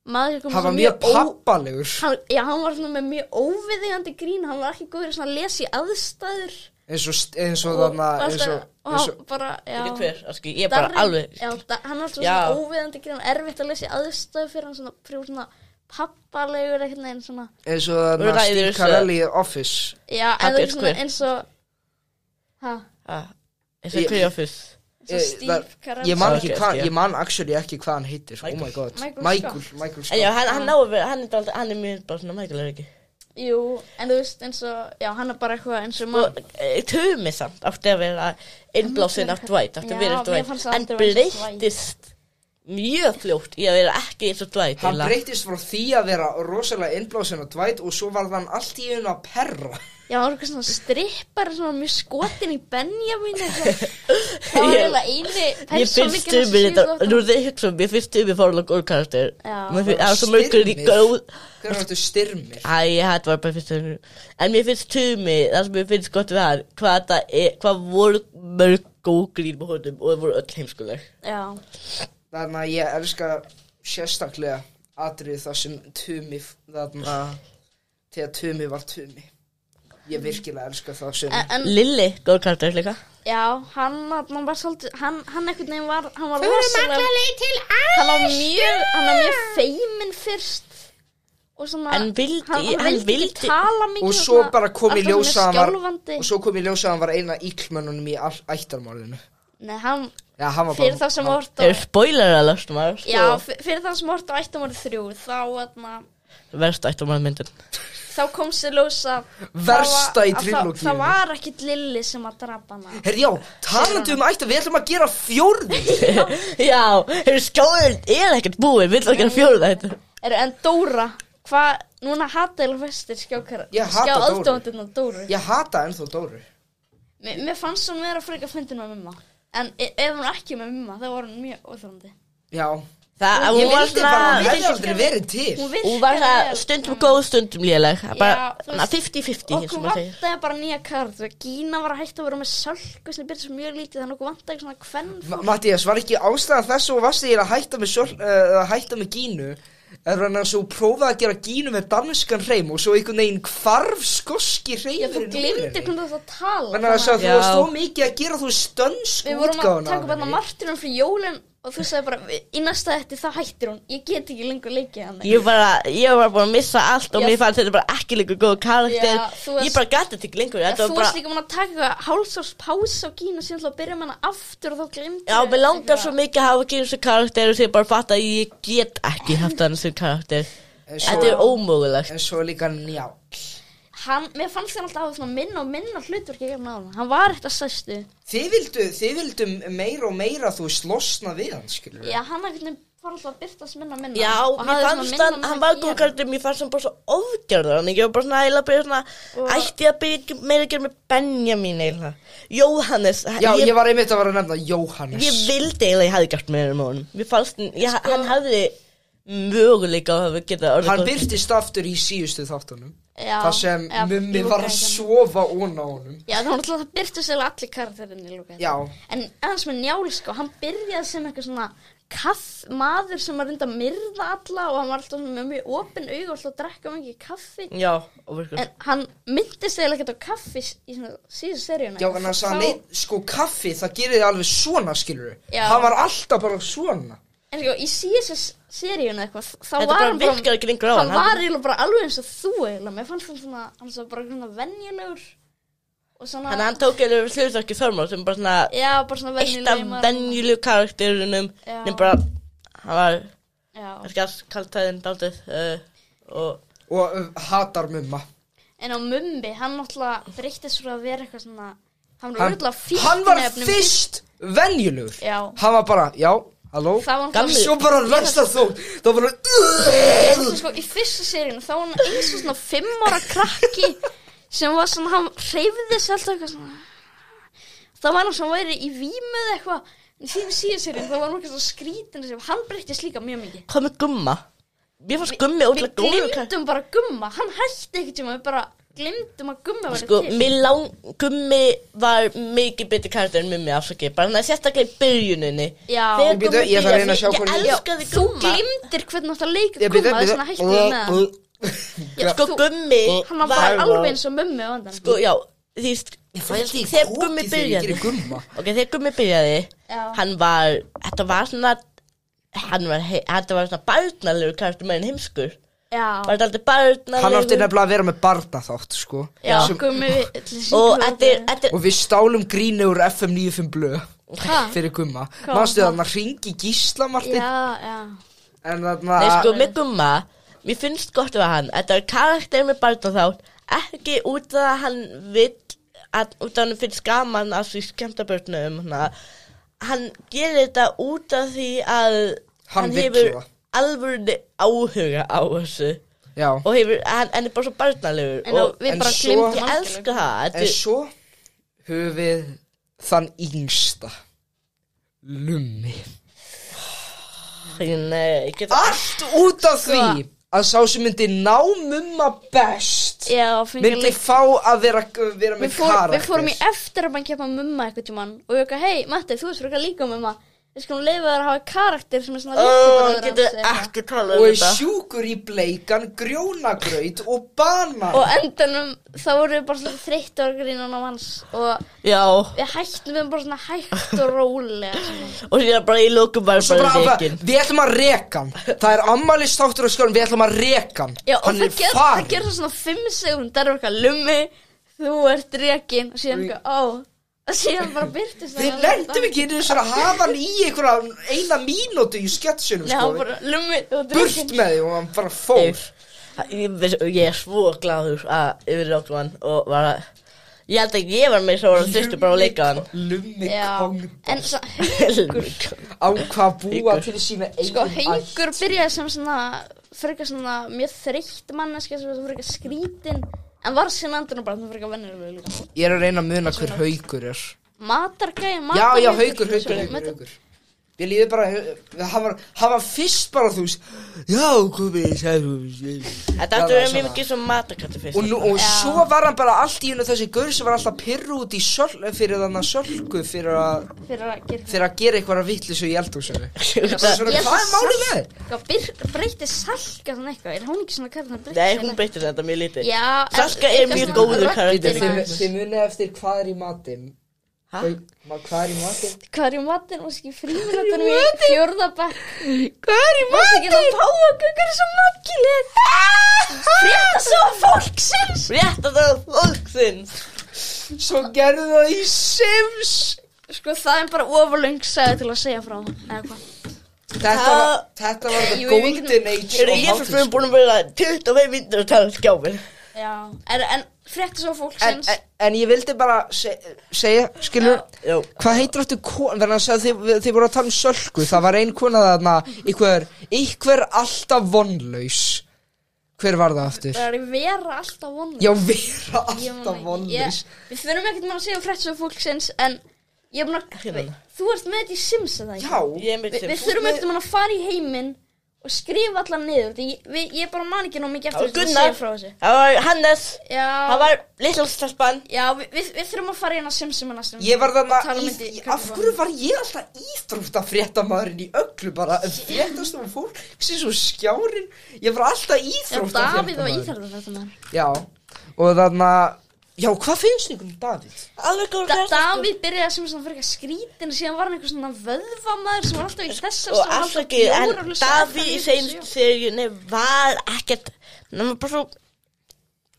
C: maður kom
B: Hann var mjög pappalegur.
C: hann, já, hann var svona með mjög óviðigandi grín hann var ekki góður í svona að lesa í aðstæður
B: Eins og, st- eins og þarna,
C: og,
B: eins og,
C: alltaf- og
B: eins
C: hann
B: og,
C: bara já,
A: ekki hver, sko, ég er bara alveg
C: já, da, hann var alltaf
A: Já.
C: svona óviðigandi grín og erfitt að lesa í aðstæður fyrir hann svona, fyrir svona pappalegur einhvern veginn svona
B: eins og þarna
A: Ræður
B: Steve
A: þessu.
B: Carelli í Office.
C: já,
A: Pabbi
C: en það
A: er
C: er svona
A: hver?
C: eins og ha,
A: Ah, eins og hverja fyrst
C: eins og
B: Eh,
C: Steve
B: það-
C: Carell
B: Ég man
A: Sorry,
B: ekki
A: ekki,
B: hvað,
A: ekki.
B: ég man actually ekki hvað hann heitir. Oh my
A: Michael.
B: god.
C: Michael
B: Michael, Michael
A: En já,
B: Scott.
A: hann, hann á að vera, hann er, dálítið- hann er mjög bara svona Michael er ekki
C: jú, en þú veist eins og já, hann er bara eitthvað eins og
A: Og e, Tumi samt átti að vera innblásin af Dwight, átti að
C: Já,
A: vera
C: mér fannst
A: Dwight
C: það
A: En
C: aldrei vera eins og Dwight.
A: breyttist mjög fljótt í að vera ekki eins og Dwight
B: Hann
A: eiginlega.
B: breytist frá því að vera rosalega innblásin og dvæt og svo varð hann allt í einu að perra.
C: Já, það var eitthvað svona strippar svona mjög skotin í Benjamin eitthvað. Það var
A: Ég- Ég
C: eiginlega eini
A: finnst
C: persónleikinn
A: Tumi
C: sem
A: þetta,
C: séu
A: nú
C: gott.
A: er það hugsa um, ég finnst Tumi fórlega góð karakter
C: Já.
A: Mér finnst- Það er svo mörgur í
B: Styrmir.
A: góð
B: Hver er þetta styrmir?
A: Æ, þetta var bara fyrst önnur. En mér finnst Tumi, það sem mér finnst gott við hann Hvað það er, hvað voru mörg góð grín með honum og það voru öll heimskuleg
C: Já,
B: Þannig að ég elska sérstaklega atrið það sem Tumi þannig að þegar Tumi var Tumi ég virkilega elska það sem
C: en, en
A: Lilli, góð karakter líka
C: já, hann, hann var svolítið, hann, hann einhvern veginn var, hann var rosalega, hann var mjög, hann var mjög feiminn fyrst og svona,
A: En vildi-
C: hann,
A: hann
C: hann vildi
A: vildi-
C: ekki tala mikið
B: og svo
C: svona,
B: bara kom í
C: alltaf
B: ljós að
C: svona
B: hann var
C: skjálfandi.
B: og svo kom í ljós að hann var eina íklmönnunum í all- ættarmálinu
C: Nei, hann,
B: Já, hann var bara
C: fyrir þá sem
B: hann,
C: vort
A: Það eru spoiler að lasta maður sko.
C: Já, fyr- fyrir þá sem vort á ættum voru þrjú, þá, þarna,
A: Sko, Verst ættum maður myndin
C: þá kom sér ljósa
B: Versta í trilógíunni.
C: það var ekkit Lilli sem að drapa hana
B: Herri, já, talandi um ættar, við ætlum að gera fjórði
A: Já, hefur skóðurinn er ekkert búinn Vill að gera fjóruð þetta
C: Eru, en Dóra, hvað, núna hata eða festir skjákara
B: Ég hata
C: skjá
B: Dóru.
C: aðdóndin og Dóru
B: Ég hata ennþá Dóru
C: mér, mér fannst hún vera frekar fyndin með mumma en e ef hún er ekki með mumma þá var hún mjög óþrandi
B: Já
A: Það, hún,
B: Ég
A: hún var
B: vildi bara að hún
A: svona,
B: hefði aldrei verið til
C: hún virkar
A: hún var það stundum góð, stundum léleg. Það Bara,
C: Já, þú
A: na,
C: veist,
A: 50-50, eins
C: okkur
A: og maður segir.
C: vantaði bara nýja karakter Gína var að hætta að vera með sölku sem byrja svo mjög lítið þannig okkur vantaði svona kvenn
B: Ma- Mattías, var ekki ástæðan þess og varst þér að hætta með, sjálf, uh, að hætta með gínu eða hann að svo prófaði að gera gínu með danskan hreim og svo einhvern veginn hvarf skoski hreim
C: já þú glimti hvernig þú átt að tala
B: Þannig að
C: þannig
B: svo þú
A: Já.
B: varst svo mikið að gera þú stönsk
C: við vorum að
B: útgáðuna
C: taka upp hérna Martinum fyrir jólin og þú sagði bara "Við- í næsta þetta þá hættir hún ég get ekki lengur leikið hann
A: Ég var, að- ég var búin að missa allt og
C: Já.
A: mér fannst þetta bara ekki lengur góð karakter.
C: Já, þú varst-
A: ég bara gæti þetta ekki lengur.
C: þú
A: Þetta var
C: varst
A: bara,
C: líka mann að taka eitthvað hálsás pása á Gína síðan til að byrja með hana aftur og þá glimti
A: já, mér langar svo mikið að hafa ekki eins og karakter og þegar bara fatt að ég get ekki haft hann sem karakter.
B: En svo-
A: Þetta er ómögulegt.
B: En svo líka njál
C: hann, mér fannst hann alltaf að svona minna og minna hlutverk ekki hann áðan hann var eitthvað sæstu
B: Þið vildu, þið vildu meira og meira þú veist losna við hann, skilur
C: já, hann einhvern veginn fór alltaf að byrtast minna og minna
A: Já,
C: Og
A: mér
C: hafði svona
A: fannst
C: minna og
A: hann,
C: minna
A: hann
C: að
A: var
C: gera.
A: góð karakter, mér fannst hann bara svo ofgerður hann, ég var bara svona eiginlega að byrja svona, ætti ég að byrja ekki meira að gera með Benjamin eiginlega, Jóhannes,
B: Já, ég,
A: ég,
B: var einmitt að vera að nefna Jóhannes
A: ég vildi eiginlega ég hefði gert meira með honum, mér fannst, hann- ég, hann
C: Sko-
A: hafði möguleika að hafa getað orðið
B: Hann
A: góð.
B: byrtist aftur í síðustu þáttunum
C: Já,
B: Það sem
C: já,
B: mummi
C: Luke
B: var að
C: er ekki
B: sofa ón á honum
C: Já, það var alltaf það byrtist eða allir karakterinn í lúka
B: Já.
C: En aðeins með Njáli sko, hann byrjaði sem eitthvað svona kaff, maður sem var reynda að myrða alla og hann var alltaf svona með mjög opin augu og alltaf að drekka mikið kaffi
A: Já, og virkur.
C: En hann myndist eða ekkert á kaffi s- í svona síðan seríuna
B: Já, en hann
C: Þá-
B: sagði, nei, sko, kaffi, það gerir þið alveg svona, skilur
C: Já.
B: Hann var alltaf bara svona
C: En sko, í síðan seríuna eitthvað, þá
A: Þetta
C: var
A: bara
C: hann
A: virkar ekki lengur á hann,
C: Hann
A: hann-
C: var eiginlega bara alveg eins og þú eiginlega Mér fannst hann svona, hann svo bara svona venjulegur Og svona
A: Þannig að hann tók eiginlega hlutverki þörmál sem bara svona,
C: Já, bara svona
A: eitt
C: venjulegur
A: af
C: maður.
A: venjulegu karakterunum,
C: Já.
A: en bara, hann var,
C: Já.
A: kannski að kalltaðin daldið, uh, og,
B: Og uh, hatar mumma
C: En á Mumbi, hann náttúrulega breyttist frá að vera eitthvað svona Hann var
B: Hann,
C: örugglega fíkn
B: hann var
C: efnum-
B: fyrst venjulegur
C: Já.
B: Hann var bara, já, halló
C: Það var
A: Gamli.
C: hann
B: Svo bara versta þú Það var bara,
C: sko, Í fyrstu seríun þá var hann eins og svona Fimm ára krakki Sem var svona, hann hreyfði sér alltaf eitthvað svona Þá var hann sem væri í vímu eða eitthvað En síðan síðan seríun þá var hann eitthvað svona skrítin sem Hann breyttist líka mjög mikið
A: hvað með gumma? Mér fannst gummi
C: Við
A: ótrúlega góður karakter.
C: glimtum bara að gumma Hann hætti ekkert tíma, við bara glimtum að gumma væri
A: Sko,
C: til
A: mér lang, Gummi var mikið betri karakter en Mummi, afsakið, bara hann er sérstaklega í byrjuninni.
C: Já.
A: Þegar
B: Ég býtu,
A: Gummi
B: ég þarf að
A: byrjar,
B: reyna að sjá
A: ég
B: hvernig-
A: elskaði
C: Þú
A: Gumma.
C: glimtir hvernig átt að leika
B: ég
C: gumma Þess vegna hætti ég með hann Já,
A: Sko,
C: þú-
A: Gummi
C: Hann var
A: var,
C: bara alveg eins og mummi á andan
A: sko, já, því,
B: Ég fæ alltaf í
A: þegar
B: kokið
A: Gummi
B: þegar
A: byrjaði,
B: ég gerir gumma
A: ok, þegar Gummi byrjaði,
C: Já.
A: hann var, þetta var svona, hann var, he- þetta var svona barnalegur karakter meðin heimskur.
C: Já,
A: Var þetta aldrei barnalegur?
B: Hann átti nefnilega að vera með barna þátt, sko
C: já,
B: Sem-
C: gummi
A: Og þetta er, þetta
B: Og við stálum gríni úr FM 95 blöð
C: Ha?
B: Fyrir gumma
C: Hvað?
B: Manstu þarna hringi gísla, Martin
C: Já, já
B: En
A: Nei,
B: þarna
A: sko, með gumma, mér finnst gott að hann, þetta er karakter með barnaþátt, ekki út af að hann vill, að, út af hann finnst gaman að því skemmta börnum, hana. hann gerir þetta út af því að
B: Hann vill
A: hefur
B: það.
A: alvörni áhuga á þessu
B: Já
A: og hefur, hann, hann er bara svo barnalegur
C: En
A: og
C: við
B: en
C: bara
B: svo-
C: glimtum
A: ég elska það, þetta
B: En
A: er-
B: svo höfum við þann yngsta Lummi
A: Ég- nei, ég get það,
B: Allt út af því að sá sem myndi ná mumma best
C: Já, fengið
B: myndi
C: líka
B: fá að vera, vera
C: Við
B: með
C: fór-
B: karakter
C: við fórum í eftir að bann kempa mumma eitthvað tímann Og við okkur, hei, Matti, þú ert fyrir líka mumma Við skulum leifa þér að hafa karakter sem er svona
A: Ó,
C: rétt
A: ég get
C: í bróður hans eða eitthvað.
A: ekki talað um
B: og er
A: þetta
B: sjúkur í bleikan, grjónagraut og banan
C: Og endanum, þá vorum við bara svona þreytt og grínan á hans Og
A: Já,
C: við hættum við bara svona hægt og rólega svona.
A: og síðan bara í lókum var
B: Svo
A: bara
B: bara,
A: reikin
B: við ætlum að reka hann Það er ammælistáttur á skjálum, við ætlum að reka hann
C: Já, og
B: Hann
C: það
B: er
C: ger, það
B: farinn
C: ger það svona fimm segund Það er eitthvað lummi, þú ert rekin Og síðan eitthvað, ó Og síðan bara byrtist
B: Við lendum ekki inn í þessar að hafa hann í einhverja eina mínútu í sketsunum
C: Nei, hann
B: sko.
C: bara, lummi, þú ert
B: Burt
C: rekin
B: með því og hann bara fór
A: Ég- ég, ég er svo gladur að yfir Rockman og var að ég held að ég var með svo að þurftu bara að leika hann
B: Lummi
C: Já, en
B: kongdótt
C: svo,
A: Helvíti.
B: Á hvað að búa til sína eigin
C: sko,
B: ætt.
C: hengur byrjaði sem svona frekar svona mjög þreytt manneska sem var svona frekar skrítin en var sinn andur og bara svona frekar vennilega líka
B: Ég er að reyna að muna hver haugur er
C: matargæði,
B: Já,
C: matargæði
B: já, haugur, haugur, haugur, haugur Ég líði bara, hann var, hann var fyrst bara þú veist Já, komið, sæðu
A: Þetta áttu verið mjög mikið sem matakattu fyrst
B: Og, nú, og svo var hann bara allt í hennu þessi gaur sem var alltaf pyrru út í sölk fyrir þannig að sölku fyrir að
C: fyrir að gera
B: fyrir að gera eitthvað að vittlisu í eldhúsinu
A: Þetta-
B: Svona,
C: Ég-
B: Hvað er málið með þér?
C: Hvað, byr- breytti salka svona eitthvað er hún ekki svona hvernig hann breytti
A: Nei,
C: sér
A: hún
C: eitthvað?
A: beitti þetta mjög lítið
C: já, en-
A: Salka er
C: eitthvað
A: mjög
C: svona
A: góður
C: rödd-
A: karakter
C: Þið-
A: Hæ?
B: Þið munið eftir hvað er í matinn Ma- Hvað er í matinn?
C: hvað er í matinn, hún sé fríminutunum í fjórðabæk
A: Hvað er í
C: Mást ekki hérna það páfakökur sem maggileg Ah! Frétta svo fólksins
A: Rétt að það fólksins
B: Svo gerðu það í Sims
C: Sko það er bara ofurlöng sagði til að segja frá Eða hvað
B: Þetta
A: Það-
B: var, þetta var the
C: Jú, ég veit
B: golden age
A: Eru ég fyrir fyrir búin að vera 25 minnir að tala um skjáfin
C: Já En, en frétta svo
B: en,
C: fólksins
B: en, en ég vildi bara se, segja, skilur
A: Já
B: Hvað heitir áttu kon, verðan að segja þið, þið voru að tala um sölku Það var ein kona þarna, ykkur, ykkur alltaf vonlaus Hver var það aftur?
C: Það er að vera alltaf vonlaus
B: Já, vera
C: Ég man
B: alltaf
C: ekki.
B: vonlaus
C: Ég- Við þurfum ekkert maður að segja frétta svo fólksins En ég er
A: Ekki
C: búin að
A: núna.
C: Þú ert með þetta í Sims eða ekki
B: Já,
A: Ég er mitt
C: Vi, Við þurfum ekkert maður að fara í heiminn Og skrifa allar niður Því ég, við- ég bara man ekki nóg mikið
A: Það
C: eftir
A: var
C: þessu að
A: Gunnar.
C: segja frá þessu
A: Það var Hannes Það
C: Já,
A: var litla stelpan
C: já við, við, við þurfum að fara inn á Simsum næstum
B: Ég var
C: Og
B: þarna,
C: tala um
B: í-
C: þetta í
B: í-
C: kringum
B: af hverju var ég alltaf íþróttafréttamaðurinn í öllu bara Fréttastum fólk, sem svo skjárin Ég var alltaf
C: Já, Davíð var
B: íþróttafréttamaður
C: íþarðan þetta maður
B: Já, og þarna, já, hvað finnst ykkur um Davíð?
A: Alveg góð
C: da
A: kærasta, sko.
C: Davíð byrjaði sem svona fyrir skrítin síðan var hann eitthvað svona vöðvamaður sem var alltaf í þessar
A: og afsakið, en Davíð í
C: seint
A: seinst seríunni var ekkert hann var bara svo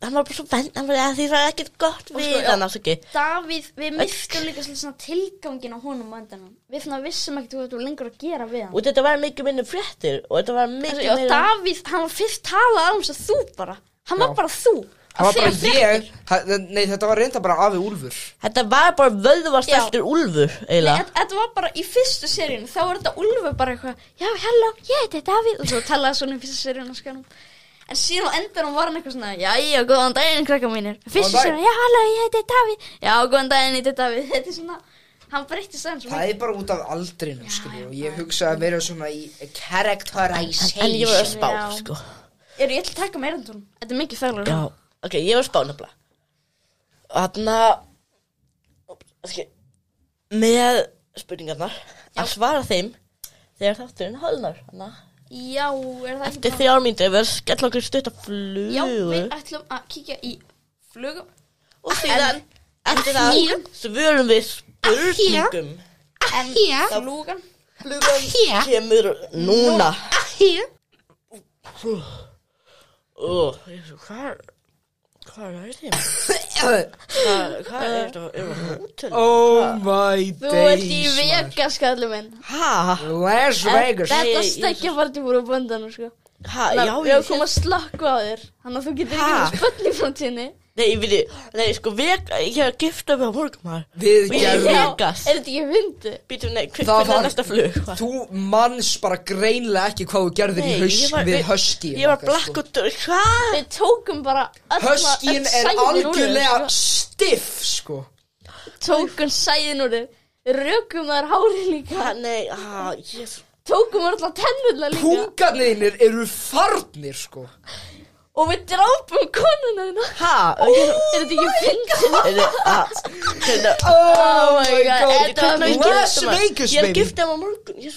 A: hann var bara svo venn, hann var að því það er ekkert gott
C: Og
A: við
C: sko, já.
A: hann afsakið
C: Davíð, við mistum líka svolítið svona tilgangin á honum á endanum Við svona vissum ekkert hvað þetta var lengur að gera við hann
A: og þetta var mikið minni fréttir og þetta var
C: Þessi,
A: mikið
C: Og
A: meira
C: Davíð, hann var fyrst talað um þess að þú bara
B: Já.
C: Hann var bara þú
B: Það var
C: Þegar
B: bara ég, ha- nei þetta var reynda bara afi Úlfur
A: þetta var bara vöðvasteltur úlfur
C: Nei,
A: eiginlega
C: þetta- Þetta var bara í fyrstu seríun Þá var þetta Úlfur bara eitthvað Já, hello, ég heiti Davíð Og svo talaði svona í fyrstu seríun á skanum En síðan á endanum var hann eitthvað svona Jæja, góðan daginn, krakka mínir Fyrstu
B: Góðan
C: seríun, já, hello, ég heiti Davíð Já, góðan daginn, ég heiti Davíð Þetta er svona, hann breytti sann svo
B: Það
C: mikið
B: er bara út af aldrinum, skilur Og ég hugsaði að vera svona í characterization
A: en ég var að spá
C: Já.
A: sko.
C: Eru ég ætla að taka meira um tónum Þetta er mikið þærlega
A: já, ok, ég var að spá nefnilega þarna okay, með spurningarnar að svara þeim þegar þátturinn hálnar þannig að
C: Já, er það ekki
A: Eftir þrjár mínútur verður skella okkur stutt að flugu
C: Já, við ætlum að kíkja í flugum
A: Og síðan eftir
C: Hér.
A: það svörum við spurningum
C: En flugan
A: Flugan kemur núna Ó, Jesú, Hvað Hvað er þeim? Hvað hvað
C: Uh,
A: er þetta? Er það hótel?
B: Oh my
C: Þú ert í
B: days maður.
C: vega, skallum minn
A: Ha?
B: Las
A: Ég-
B: Vegas
C: Þetta
A: ég-
C: stekja farti voru á böndanum, sko
A: Ha? Já,
C: Já,
A: ég
C: við erum komið
A: sé
C: að slakka á þér Þannig að þú getur
A: Ha?
C: ekki spöll í framtíðinni
A: Nei, ég veit Nei, sko, veg Ég er að gifta mig á morgun maður
B: Við
A: Við-
B: gerðum
A: Já.
C: Er þetta ekki hundi?
A: Býtum, nei, hver-
B: Það
A: hvernig
B: var-
A: er næsta flug? Hvað?
B: Þú manns bara greinlega ekki hvað þú gerðir
A: Nei,
B: í
A: ég
B: hausk
A: var-
B: við sko.
A: við-
B: husky
A: Ég var blakk og dörr Hvað?
C: Við tókum bara öll
B: Huskyn
C: öll
B: er
C: sæðin úr þér,
B: algjörlega stiff sko
C: sko. Tókum sæðin úr þér Rökum þær hári líka
A: Ha, Nei, ha, jésu
C: Tókum þær alltaf tennurlega líka
B: Pungarnir eru farnir sko
C: Og við drápum konuna þína
A: Ha? og ég-
C: Er þetta ekki fyndið?
A: Heyrðu, ha, heyrðu,
B: Oh
C: my god, þetta var
A: Hvernig
C: mikið
A: á ég að
B: Las
A: gifta mig?
B: Vegas
A: Ég er
B: baby
A: giftið á morgun ég,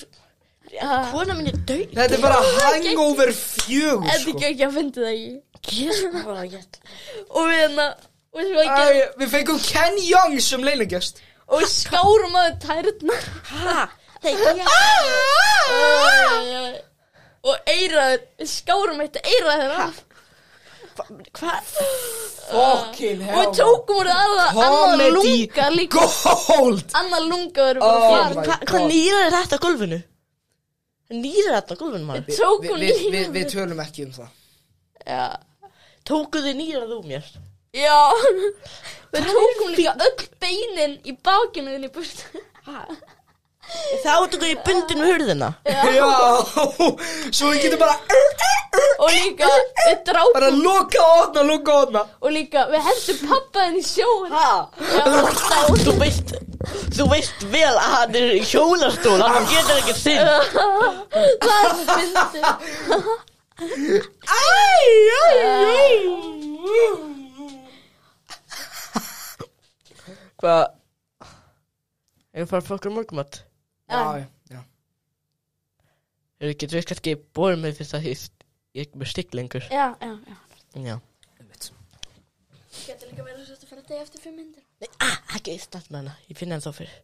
C: Ah.
A: Kona mín er döið
B: Þetta er bara
C: ekki-
B: hangover
C: Er
B: fjögur
C: þetta
B: sko
C: ekki ekki að fyndið það ekki?
A: Jésu
C: Og við hérna Og svo ekki
B: Æ, Við fengum Ken Young sem leinugest
C: Og skárum að tærnar
A: Hæ? Nei, ég
C: Og eiraður Við skárum eitt eiraður af
A: Hvað?
B: Fucking
C: Og við tókum úr það annað- annað
B: Comedy
C: lunga líka
B: gold
C: Annað lunga verður bara
B: Oh
C: farin
B: my
A: Hva- Hvað
B: God.
A: nýrar er þetta á gólfinu? Nýrar þetta á gólfinu maður
C: Við
B: Við-
C: tókum
B: við- við- Við
C: líka
B: tölum ekki um það
C: Já
A: Tókuð þið nýrað úr mér
C: Já Við tókum líka öll beinin í bakinu þinn í burtu
A: Þá tókuð ég bundin við hurðina
B: Já, svo við getum bara
D: og líka við
B: Bara
D: drápum
B: loka ofna, loka ofna
D: og líka við hendum pappaðin í sjóin
A: Þú veist Þú veist vel að hann er í hjólastól Hann getur ekki sinn
D: það er svo fyndið
A: Hvað Ég fara að fá okkur morgumat
B: Já, já, já
A: Hefur ekki dveist kannski bóðið mig fyrst að ég Ég er ekki með stikk lengur
C: Já, já, já
A: Já
B: Einmitt.
C: Getur líka verið svo að fara deg eftir fimm myndir
A: Nei, ah, ekki snart með hana Ég finna hann þá fyrir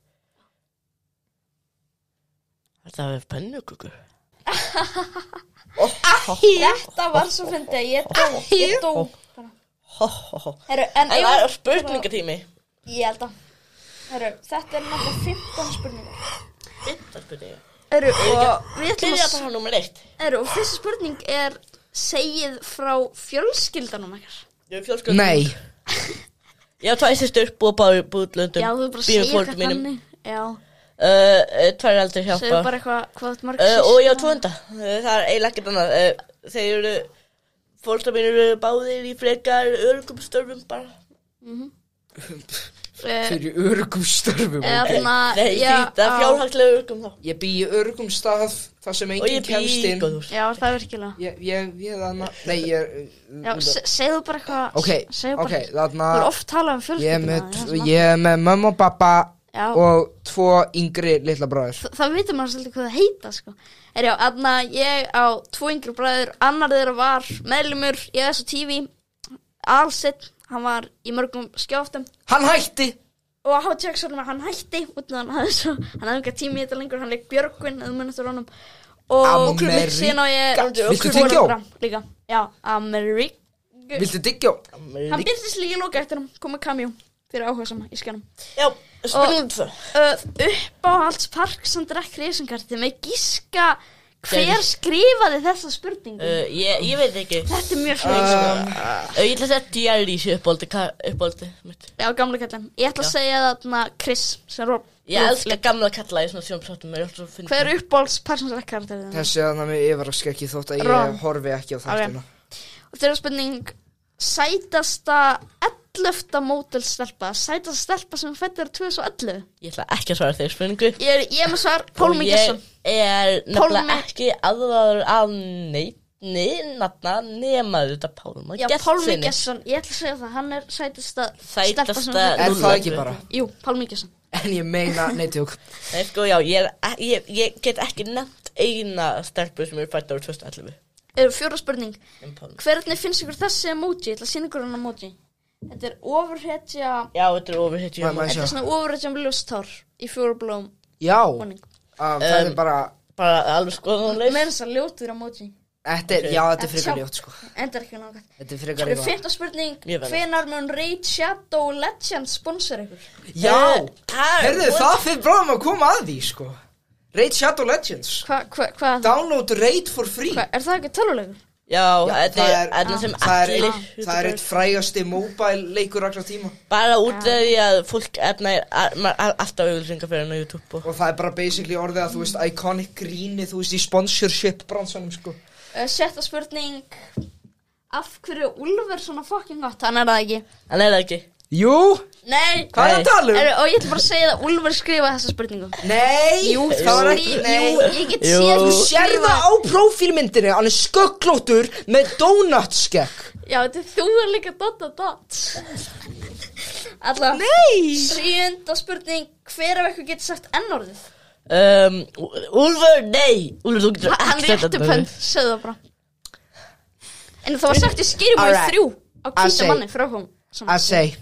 A: Þetta er pönnugugur
C: Þetta var svo fyndið, ég dó, ég dó
A: Ho, ho, ho
C: Heru, En
A: En
C: ég,
A: það
C: var-
A: er spurningatími
C: ég held að Heru, Þetta er náttúrulega 15 spurningar
A: Þetta spurninga
C: Heru, og við ætlum
A: Byrja
C: að
A: bara nummer eitt
C: Heru, og Fyrsta spurning er segið frá fjölskyldanum ekkert
A: Ég er fjölskyldum
B: Nei,
A: Ég hef tvær sýstur, búið bara í búðlöndum
C: Já, þú er bara að segja eitthvað þannig Já,
A: uh, Tvær aldrei
C: segðu
A: hjálpa
C: bara eitthvað hvað þetta marg
A: uh, Og ég á tvönda uh, Það er eiginlega ekkert annað uh, Þeir eru Fólkna mín eru báðir í frekar örgum störfum bara
C: Fyrir
B: fyrir örugum störfum
C: Eh, Eða svona
A: Nei,
C: Ah, já,
A: já, það er
C: á-
A: fjárhagslega örgum þá
B: Ég bý í örugum stað þar
A: Og
B: sem
A: ég
B: enginn
A: bý
B: kemst
A: í
B: inn
A: góðhús
C: Já, það er virkilega
B: Ég, ég, ég, þarna Nei, ég uh, um,
C: Já, se- segðu bara eitthvað
B: Ok,
C: segðu bara,
B: ok,
C: okay.
B: þarna
C: Þú er oft talað um
B: Ég er
C: fjölskyldina
B: með,
C: það sem að-
B: ég er með mömmu og pappa
C: Já.
B: og tvo yngri litla bræður
C: Þa- Það veitum maður svolítið hvað það heita sko. Er já, aðna ég á tvo yngri bræður Annar þeirra var meðlumur í þessu tífi Alsett, hann var í mörgum skjáftum
B: Hann hætti
C: Og á Jacksonum hann hætti Út af hann hafði svo Hann hafði enga tími í þetta lengur Hann leik Björgvin, eða munið eftir honum Og
B: Ameríka.
C: síðan á ég
B: Viltu tyggjó?
C: Líka, já, Amerík
B: Viltu diggjó?
C: Hann byrtist líka í lóka eftir hann Komið kamjó fyrir áhuga sama í skjánum
A: Já, spurningum tvö
C: uh, uppáhaldspark sem drekk reysingarti með gíska hver skrifaði þessa spurningu
A: uh, ég, ég veit ekki
C: þetta er mjög fyrir uh,
B: Ah,
A: uh, Ég ætla að setja djærís uppbóldi Uppbóldi mitt
C: já, gamla kallin, ég ætla að
A: Já.
C: segja þarna Chris sem ró
A: Ég elska gamla kalla í svona sjónprátum Mér er alltaf að finna
C: hver er uppáhaldspark sem drekk reysingarti
B: Þessi að það með yfirraska ekki þótt að ég
C: Rom.
B: horfi ekki á þáttina
C: og þetta er spurning sætasta 11. mótelstelpa sætasta stelpa sem fættir 2011
A: Ég ætla ekki að svara þeirri spurningu
C: ég er, ég er með svar Pólmi Gesson
A: Ég er nefnilega
C: Pálmi-
A: ekki aðraður að neitni nafna nema þetta Pálma
C: já, Pólmi Gesson, ég ætla að segja það hann er sætasta, stelpa sem
A: Sætasta
C: fættir
B: Er það ekki
A: Núll.
B: bara?
C: jú, Pálmi Gesson
B: En ég meina, nei tjók
A: Nei sko já, ég, er, ek- ég, ég get ekki nefnt eina stelpu sem er fætt ára 2011
C: eru fjóra spurning
A: um Pálma
C: Hvernig finnst ykkur þessi emoji? Ég ætla að sína ykkur hann emoji Þetta er ofurhetja
A: Já, þetta er ofurhitt
B: Má- má ég
A: Bara
B: sjá?
C: Þetta er svona ofurhetja með ljóstár Í fjórublóm
B: Já,
C: búning
B: um, það er
A: Um,
B: bara
A: alveg skoðunleif
C: Með þess að ljótur emoji
B: Þetta er, já, þetta er
C: En
B: frekar
C: sjá-
B: ljótt sko
C: Enda er ekki nákvæmt
B: Þetta er
C: Það
B: frekar
C: eru
B: ljótt
C: fyrta spurning
A: Mjög vel.
C: Hvenar mun Raid Shadow Legends sponsor ykkur?
B: Já,
A: Eh, Það er-
B: herðu það fyrir bráðum að koma að því sko Raid Shadow Legends
C: Hva, hva, hvað?
B: Download Raid for free
C: Hva, er það ekki tölulegur?
A: Já, þetta
B: það
A: er
B: er-
A: þetta sem
B: Það er,
A: allir um.
B: eitt, það er eitt frægasti mobile leikur allra tíma
A: Bara út af því að fólk erna er að- maður er alltaf auðvilsingar fyrir hann á YouTube og
B: Og það er bara basically orðið að þú veist Iconic gríni, þú veist í sponsorship bransanum sko
C: Uh, Sjetta spurning Af hverju er Úlfur svona fucking gott? Hann er það ekki
A: Hann er það ekki
B: Jú,
C: Nei
B: hvað er
A: Nei.
B: að tala um?
C: Eru- Og ég ætla bara að segja það Úlfur skrifa þessa spurningu
B: Nei,
C: Jú,
B: það var ekki, nei
C: Jú, ég get
A: Jú.
C: séð
B: Þú
C: þú
B: sér
C: skrifa-
B: það á prófílmyndinu, hann er skögglóttur með donutskekk
C: Já, þetta er þú er líka dot dot dot Alla
B: Nei
C: Sjönda spurning Hver af ykkur getur sagt n-orðið?
A: um, Ú- Úlfur, nei Úlfur, þú getur
C: Hann
A: sagt
C: rétti
A: þetta.
C: pönd, segðu það bara En það var sagt í skýrum og
B: Alright.
C: þrjú Á
B: say.
C: kvíta manni frá hún
B: Að seg,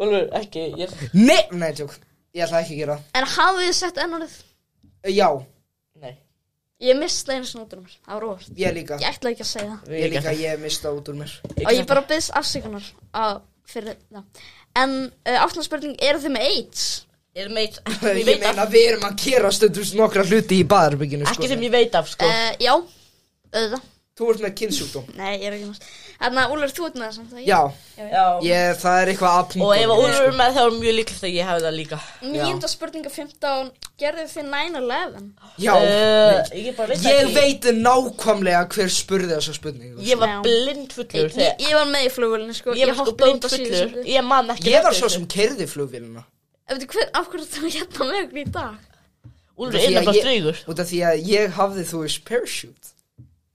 A: Úlfur, ekki ég...
B: nei, nei, tjók, ég ætla ekki að gera það.
C: En hafið þið sagt n-orðið?
B: Eh, Já,
A: Nei,
C: Ég mista einu svona út úr mér Það var óvart
B: ég líka
C: Ég ætla ekki að segja það
B: Ég líka, ég mista út úr mér
C: Og ég bara byggðist afsökunar á, Fyrir það En uh, áttna spurning Eru þið með AIDS?
A: Ég meit,
B: Ég meina, við erum að gera stundum nokkra hluti í baðarbygginu sko
C: Eh,
A: ekki sem ég veit af sko
C: Uh, já, auðvitað
B: Þú ert með kynnsjúkdóm
C: Nei, ég er ekki með Þannig að Úlfur, þú ert með það samt að
B: Já,
A: Já.
B: ég, það er eitthvað að
A: Og ef
B: punktunum,
A: Úlfur er með þá er mjög líklegt að ég hafi það líka
C: Nýjunda spurninga 15 Gerðu þið 9-11?
B: Já,
A: uh, Ég bara veit það
B: ég
A: ekki.
B: veit nákvæmlega hver spurði þessa spurningu
A: Ég var
C: Já.
A: blind fullur
C: Ég,
A: þegar
C: ég, ég var með í flugvölinu sko
A: Ég var sko
C: hoppaði út
A: blind
C: á síðustu
A: fullur
C: stundu.
A: Ég man ekki
B: Ég var
A: nafnið
B: svo
A: þessu.
B: sem kerði flugvélina
C: Ég veit hver, af hverju þú hérna með okkur í dag?
A: Úlfur er
B: Út af því að
A: nefnilega
B: ég-
A: strýgur
B: Út af því að ég hafði þú veist parachute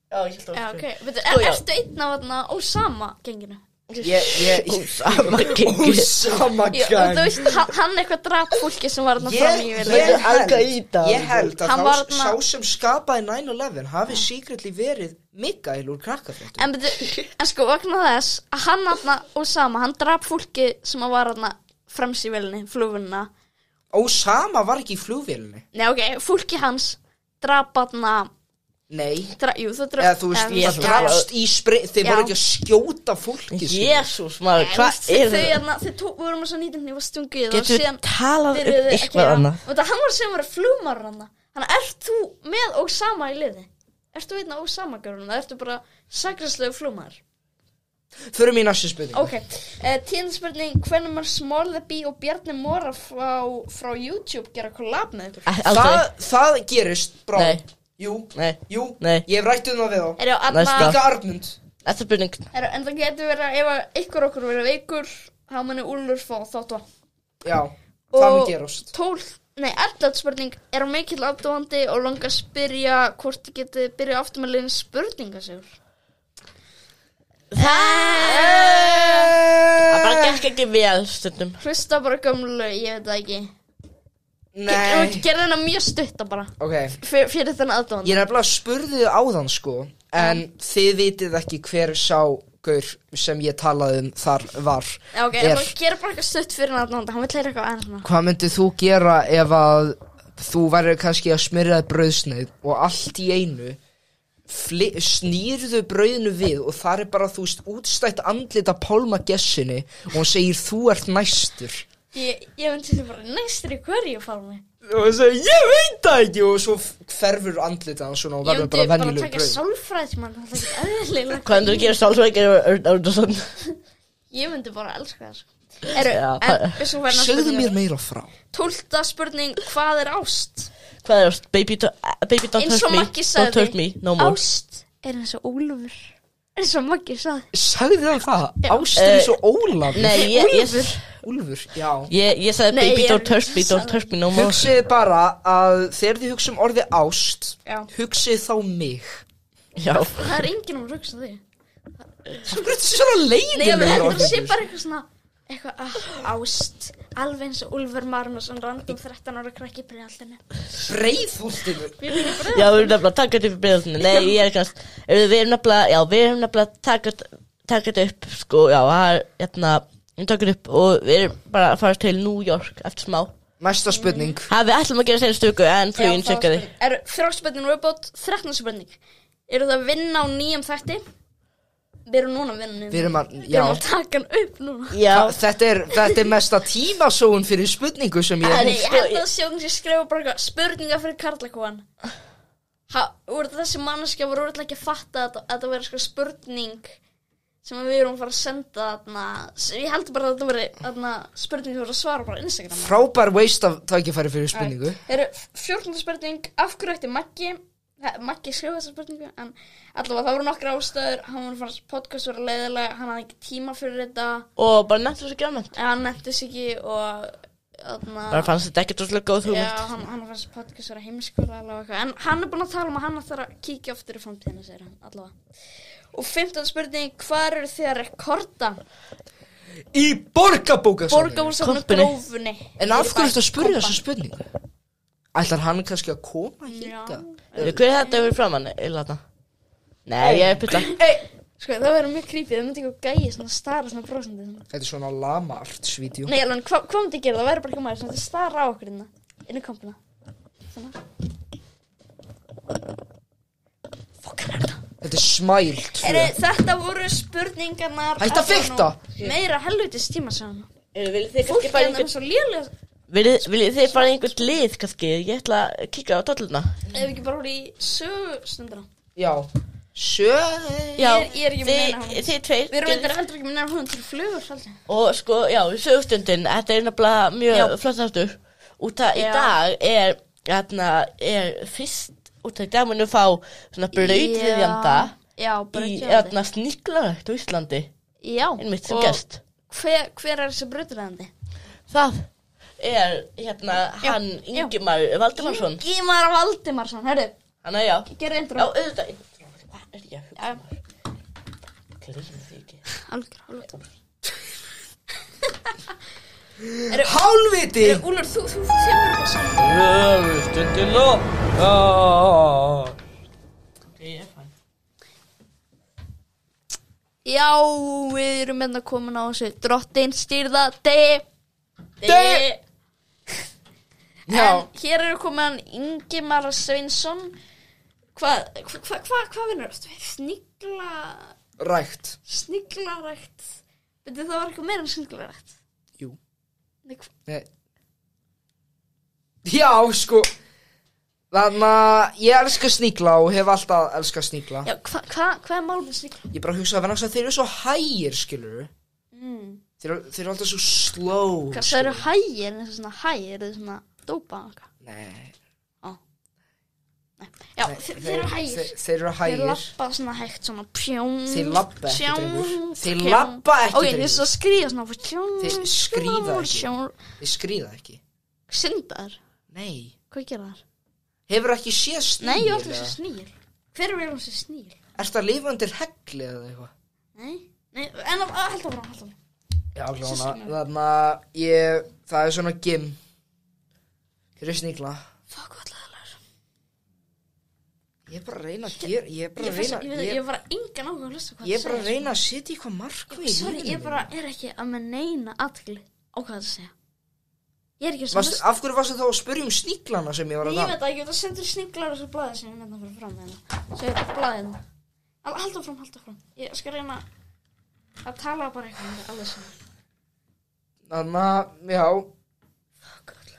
A: Já, ég held
C: Já, ok, veitu,
A: Sko,
C: er,
A: já.
C: ertu einn af þarna Ósama genginu?
B: Ég, ég,
A: Sama gengur
B: ósama
C: Já, og þú
B: gang
C: veist, hann, hann eitthvað drap fólki sem var þarna fram í
B: Sko, Ég,
C: vélinni.
B: ég, held,
A: Al-Qaida.
B: ég held að
C: Hann var
B: þá,
C: þarna-
B: sá sem skapaði 9-11 hafi secretly verið Mikael úr krakkafréttum
C: En, beti, en sko, vegna þess að hann aðna og sama, hann draf fólki sem að var aðna frems í velinni, flugvunna.
B: Ósama var ekki í flugvélinni
C: Nei, ok, fólki hans draf aðna,
B: Nei,
C: dra, jú, það draf...
B: eða þú veist,
A: ég-
B: það drafst í spri þeir
C: Já.
B: voru ekki að skjóta fólki sko.
A: Jésús maður, hvað er
C: Þau,
A: það?
C: aðna, þau tó, voru með svo nýtum hnífa stungið og
A: Getur
C: síðan
A: talað
C: byrjuðu
A: um
C: ekki
A: eitthvað
C: að-
A: annað
C: Og það hann var sem að vera flugmarar hann. Þannig, að ert þú með og sama í liði? Ertu veitna og sama görunum? Ertu bara sakræslegu flugmarar?
B: Förum í næstu spurningu
C: Ok, uh, tíðanspurning Hvernig maður Smólaby og Bjarni Móra frá, frá YouTube gera kollab með ykkur?
A: Æ,
B: það,
A: Aldrei,
B: það gerist brá
A: Nei.
B: Jú,
A: nei
B: jú,
A: Nei.
B: ég hef rætt um það við þá
C: Eru,
A: Næsta.
C: anna,
B: Líka Arnund
A: Þetta er spurning
C: eru, en það getur verið að ef að ykkur okkur verið veikur þá muni Úlur fá þáttva
B: Já, það
C: Og-
B: mun gerast
C: 12, nei, 11 spurning Er hún mikill afdóandi og langar að spyrja hvort þið getið byrjað aftur með liðin spurninga sigur?
A: Það
B: Eh,
A: bara gekk ekki vel stundum
C: Hlusta bara á gömlu, ég veit það ekki
B: Nei
C: Gerðu hennar mjög stutta bara
B: Ok,
C: fyr, fyrir þennan aðdóandi
B: ég er nefnilega spurði þið áðan sko En þið vitið ekki hver sá gaur sem ég talaði um þar var
C: Já, ok,
B: er-
C: er... gera bara eitthvað stutt fyrir hann aðdóandi Hann vil leira eitthvað aðeins svona
B: Hvað myndið þú gera ef að þú væri kannski að smyrja þér brauðsneið og allt í einu fli- snýrðu brauðinu við og þar er bara þú veist útstætt andlit að pálma gessinni og hún segir þú ert næstur
C: Ég, ég myndi þið bara næstur í hverju fálmi
B: og hún segir ég veit það ekki og svo f- hverfur andlit að hann svona og
C: Ég
B: verður
C: myndi
B: bara
C: bara
B: venjuleg
C: taka
B: brauð
C: sálfræðismann Það er ekki eðlilega
A: Hvað endur að gera sálsveikir og svona
C: Ég myndi bara elska það sko Eru,
A: Já,
C: en
A: það-
C: vissum hvernig
B: Segðu mér meira frá
C: Tólta spurning, hvað er ást?
A: Hvað er það? Baby, do, baby don't
C: Eins
A: hurt
C: og
A: me
C: Maggi
A: Don't
C: sagði
A: hurt me, no more
C: Ást er eins og ólfur Eins og Maggi sagði
B: Sagði það það?
C: Já.
B: Ástur er
A: Eh,
B: svo ólaf
A: Nei, ég, ég,
B: Úlfur Já
A: ég, ég sagði
C: Nei,
A: baby
C: ég-
A: don't hurt me, don't hurt me no more
B: Hugsið bara að þegar þið hugsa um orðið ást
C: Já.
B: Hugsið þá mig
A: Já,
C: Það er enginn um að hugsa því
B: Svo hvernig þetta svona
C: Nei, ég
B: leiðilegur
C: heldur að
B: orðið
C: sé bara eitthvað svona Eitthvað, ah, ást Alveg eins og Úlfur Magnússon Randum 13 ára krakki í breyaldinu
B: Breiðholtinu
A: já, við erum nefnilega að taka þetta upp í byrðunni Nei, ég er kannast Eh, Við erum nefnilega, já, við erum nefnilega að taka þetta- taka þetta upp Sko, já, það er, hérna Við tökum þetta upp og við erum bara að fara til New York eftir smá
B: Næsta spurning
A: Það við ætlum að gera þeirra stöku en flugin
C: það
A: sjökkaði
C: Er þrjáspurning robot, 13 spurning Eru það að vinna á nýjum þætti? Við erum núna að vinna á nýjum
B: Við erum að,
C: þætti. Við
B: já
C: erum að taka hann upp núna
A: Já,
B: Þa- Þetta er, þetta er mesta tímasóun fyrir spurningu sem ég
C: Þannig,
B: hef
C: ég held að sjóðum sem skrifa bara eitthvað Spurninga fyrir karlakóan Úr þessi manneskja voru úrlega ekki að fatta að, að það vera sko spurning sem við erum að fara að senda þarna S- Ég held bara að þetta veri þarna spurning sem voru að svara bara á Instagram
B: Frábær waste af tækifæri fyrir spurningu
C: Eru fjórnum spurning, af hverju ætti Maggi eh, Maggi skrifa þessa spurningu en allavega það voru nokkra ástöður hann voru fannst podcast voru leiðilega hann hafði ekki tíma fyrir þetta
A: og bara nættur þessu græmend
C: en hann nefndi sig ekki og þarna,
A: Bara fannst þetta ekkert úrslega góð
C: já,
A: hugmynd
C: hann, hann fannst podcast voru heimskola en hann er búin að tala um að hann þarf að kíkja aftur í framtíðina segir hann allavega og 15 spurning, hvað eru þið að rekorda
B: Í borgabókasafninu
C: borgafólksafnum
A: Kompunni.
C: grófunni
B: En af hverju ertu að spurja
C: Kompa.
B: þessa spurningu? Ætlar hann kannski að koma
C: Já.
B: hýta?
A: Hver er þetta yfir framann, Ilana? Nei, ég er pilla
C: sko það verður mjög creepy það myndi ekki að gæja svona stara svona brosandi svona
B: Þetta er svona lama artsvídeó
C: Nei, alveg, hva, hvað myndi ég gera? Það væri bara ekki maður sem þetta starra á okkur innan, innan kompuna. Svona.
B: Þetta er smæl
C: Eru,
B: tvö
C: þetta voru spurningarnar.
B: Hætt að fikta!
C: Meira helvitis tíma sagðan.
A: Viljið þið
C: Fólk
A: kannski
C: hérna er
A: fara í
C: það
A: einhvern-
C: svo lélega.
A: hérna Viljið viljið þið fara í einhvern lið kannski? Ég ætla að kíka á dolluna
C: Ef við ekki bara voru í sögustundra.
B: Já, Sjö
A: Já,
C: Ég er- ég er ekki með neina hugmynd.
A: þið, þið tveir
C: Við erum eitthvað heldur ekki minna hún til flugur svolítið.
A: Og sko, já, sögustundin, þetta er nefnilega mjög
C: Já.
A: flott aftur Út að í
C: Já.
A: dag er, hérna, er fyrst Út að í dag munum fá svona brautviðjanda
C: Já,
A: Í,
C: brautviðjandi.
A: hérna, sníklarætt á Íslandi
C: Já.
A: Einmitt sem
C: og
A: gest
C: Hver, hver er þessi brautviðjandi?
A: Það er, hérna, hann
C: já.
A: Ingimar Valdimarsson
C: Ímar Valdimarsson, herru,
A: Hann er, já,
C: gerðu
A: já,
C: intro.
A: auðvitað Hvað er ég að hugsa? Gleim því ekki
C: Algjör, algjör. Eru,
B: Hálviti
C: eru, Úlur, þú, þú, þú kemur þessu.
B: Sögustundin og oh.
A: Ok, ég er fæn
C: Já, við erum hérna komin á þessu drottin stýrða degi.
B: Degi.
C: En hér eru komin hann Ingimar Sveinsson. Hvað, hvað, hvað, hvað, hvað vinnur þetta við? Snigla,
B: Rækt
C: sniglarækt. Veitir það var eitthvað meira en sniglarækt.
B: Jú.
C: Nei, hva-
B: Nei. Já, sko Þannig að ég elska sníkla og hef alltaf elska sníkla
C: Já, hvað, hvað, hvað er málum með snigla?
B: Ég bara hugsa að verðan að þeir eru svo hægir, skilur
C: Mm.
B: Þeir eru, þeir eru alltaf svo slow
C: Hvað, það
B: skilurðu.
C: eru hægir, þessu svona hægir, þessu svona dópa og eitthvað.
B: Nei,
C: Já,
B: nei,
C: þeir, þeir eru hægir.
B: Þeir, þeir eru
C: Þeir
B: hægir
C: lappa svona hægt svona pjón
B: Þeir labba ekki,
C: tjón,
B: drengur. Þeir
C: pjón.
B: labba ekki,
C: Ok,
B: drengur.
C: þeir svo skrýða svona pjón,
B: Þeir skríða ekki.
C: pjón.
B: Þeir skrýða ekki
C: Syndar,
B: Nei
C: hvað gera þar?
B: Hefur ekki séð snýr
C: Nei, ég ætla þessi snýr Hver er þessi snýr?
B: Ertu að lifa undir hegli eða eitthvað?
C: Nei, nei, en að held áfram, held áfram
B: Já, glóna
C: Systkina.
B: Þannig að ég Það er svona gim Þeir eru sníkla
C: Fuck, hvað laðalar
B: Ég er bara að reyna að gera Ég er bara
C: Ég
B: að
C: fyrst,
B: reyna
C: ég veit,
B: ég-
C: ég er bara engan áhuga að hlusta hvað
B: Ég
C: það
B: er bara að
C: segir.
B: reyna að setja eitthvað markmið í
C: Sorry,
B: lífinu
C: ég bara er ekki að með neina atkli á hvað það segja Ég er ekki að
B: mínu.
C: sem
B: Varstu, Af hverju varstu þá að spyrja um sníklana sem ég var
C: Nei,
B: að
C: ég
B: tala um?
C: veit það ekki, það sendur sniglar þessu blaði sem ég nefna fyrir fram með hérna. Svo ég blaði hérna. Al- Halda fram, halda fram. Ég skal reyna að tala bara eitthvað með alveg sem.
B: Þannig að, já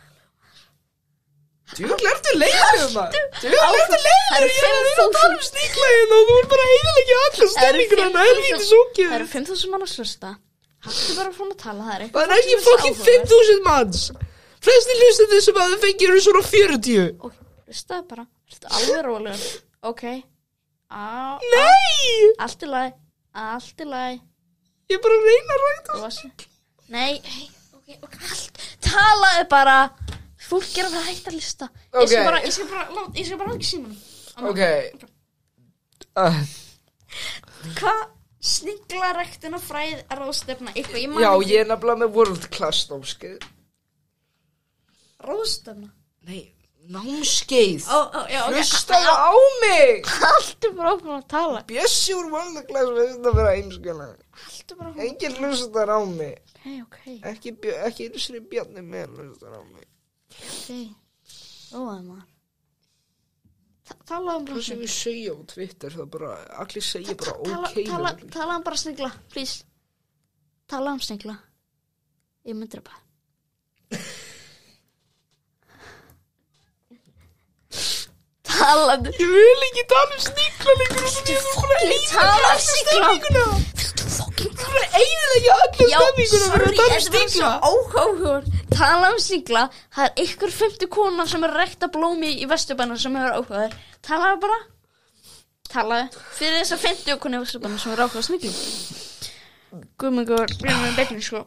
B: Djúvel ertu leiðilegur maður Djúvel ertu leiðilegur Ég er að reyna að tala um sníkla hérna og þú er bara heiðilegja allar stemmingur Þannig að helvítið
C: Það
B: sókið
C: eru 5.000 mann að slusta. Haldu bara fram að tala, það er eitthvað.
B: Það er ekki
C: sem
B: fokkin
C: áhugavert.
B: 5000 manns Flesti hlustandi sem að þau fengir eru svona 40
C: Ok, hlustaðu bara. Þetta alveg rólegur. Ok. Á,
B: Nei,
C: allt í lagi. Allt í lagi.
B: ég er bara að reyna að ræta
C: Rosi. Nei, hei, ok, ok, allt. Talaðu bara. Fólk er að vera hægt að lista. Ég skal
B: Ok.
C: bara, ég skal bara, lát- ég skal bara hangja símanum. Amma.
B: Ok uh,
C: Hvað sniglaræktin og fræð er ráðstefna eitthvað? Ég man
B: Já,
C: ekki.
B: ég er nefnilega með world class námskeið
C: Ráðstefna?
B: Nei, námskeið
C: Ó, ó, já, ok.
B: Hlustaðu á mig
C: Allt er bara áfram að tala.
B: Bjössi úr völdaglæs við þetta vera einskjöna
C: Allt er bara áfram.
B: Engin hlustar á mig
C: Ok, ok,
B: Ekki, bjö, ekki einu sinni bjarni með hlustar á mig
C: ok. Róðaði maður. Ta- Talaðu um
B: Það
C: bara
B: sem
C: snigla.
B: ég segja á Twitter það bara Allir segja bara
C: Tala-
B: ok við
C: tala-
B: mig.
C: Talaðu um bara snigla, please. Talaðu um snigla. Ég myndi það bara. Talaðu.
B: Ég vil ekki tala um sníkla lengur Þú er bara að
C: Talaðu um snigla.
B: Þú fucking Þú er að eiginlega allir
C: um Já,
B: stemminguna Þú er að tala um
C: sorry, þetta var svo
B: sníkla
C: áhugaður Tala um stíkla Það er ykkur fymti kona sem er að rekta blómi í vesturbænum sem hefur áhugaður Talaðu bara Talaðu Fyrir þess að fymti kona í vesturbænum sem er áhugaður sníklum Guðmengur, við erum með beinni sko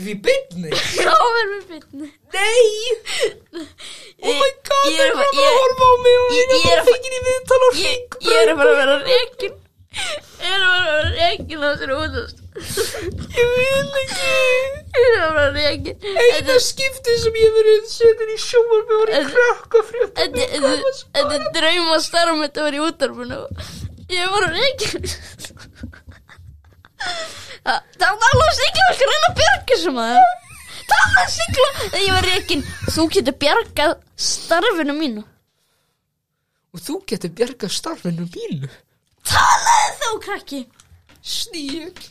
B: Við byrni
C: Já, við erum með beinni
B: Nei Oh my god Það
C: Ég- ég-
B: er bara að horfa á mig Og
C: ég-
B: ég
C: ég er
B: er
C: að
B: að fengið í viðtal og
C: Ég, ég er bara að vera reikin Ég er bara að vera reikin á þessari útast
B: Ég vil ekki
C: Ég er bara að vera reikin
B: eina skipti sem ég hef verið setin í sjómarfi var í
C: En-
B: krakka frétt
C: Þetta þetta- þetta er drauma starf mitt að vera í útarfinu Ég var á reykjum Það var alveg að sigla og reyna að bjarga sem að Það var að sigla Þegar ég var reykjum Þú getur bjargað starfinu mínu
B: og þú getur bjargað starfinu mínu
C: Talaði þá krakki
B: sník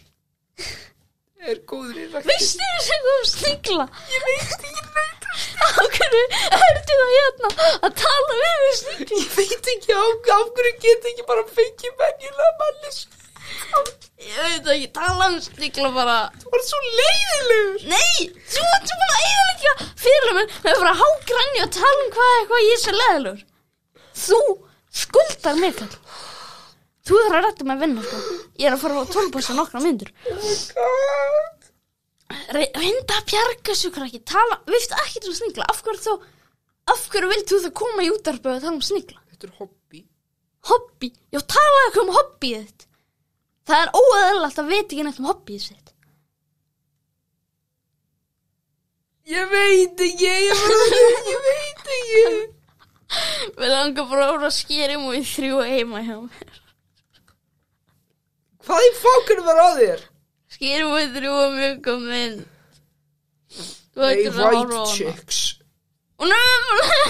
B: er góður í rækti
C: Veistu þess að þú snigla? Ég veit, ég veit Á hverju ertu það hérna að tala við við snigla?
B: Ég veit ekki á, á hverju get ekki bara fengið venjulega mannis
C: Ég veit ekki, tala um snigla bara
B: Þú var svo leiðilegur
C: Nei, þú ert búin að eiginlega fyrir mér með að fara að hágrænja og tala um hvað eitthvað ég sé leðilur. Þú skuldar mig, kall. Þú þarf að rætta með vinnu, sko. Ég er að fara á tónbúsa nokkra myndur. Reynda að bjarga svo krakki, tala, vift ekki um snigla. Af hverju þá, af hverju vilt þú það koma í útarpöðu að tala um snigla?
B: Þetta er hobby
C: Hobby, já tala ekki um hobbyið þitt. Það er óæðilegt að veit ekki neitt um hobbyið sitt.
B: Ég veit ekki, ég, bara, ég veit ekki
C: Við langar bara að voru að skýrim og í þrjú heima hjá mér.
B: Hvað í fákunum var á þér?
C: Skýrum við þrjú og mjög kom inn Þú
B: Nei,
C: ættir
B: white
C: að horfa á hana
B: chicks
C: Hún er með bara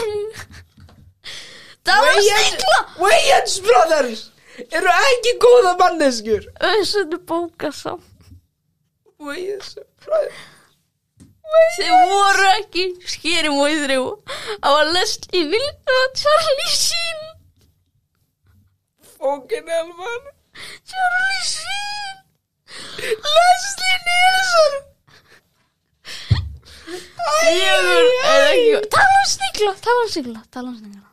C: Það var
B: Wayans,
C: stikla
B: Wayans brothers Eru ekki góða manneskur
C: Þessan er bóka samt
B: Wayans brothers
C: Þið voru ekki skýrum við þrjú Það var Leslie Nilsson og Charlie Sheen
B: Fókin elvan
C: Charlie Sheen
B: Leslie Nilsson
C: Fjögur er ekki Tala um stikla, tala um stikla, tala um stikla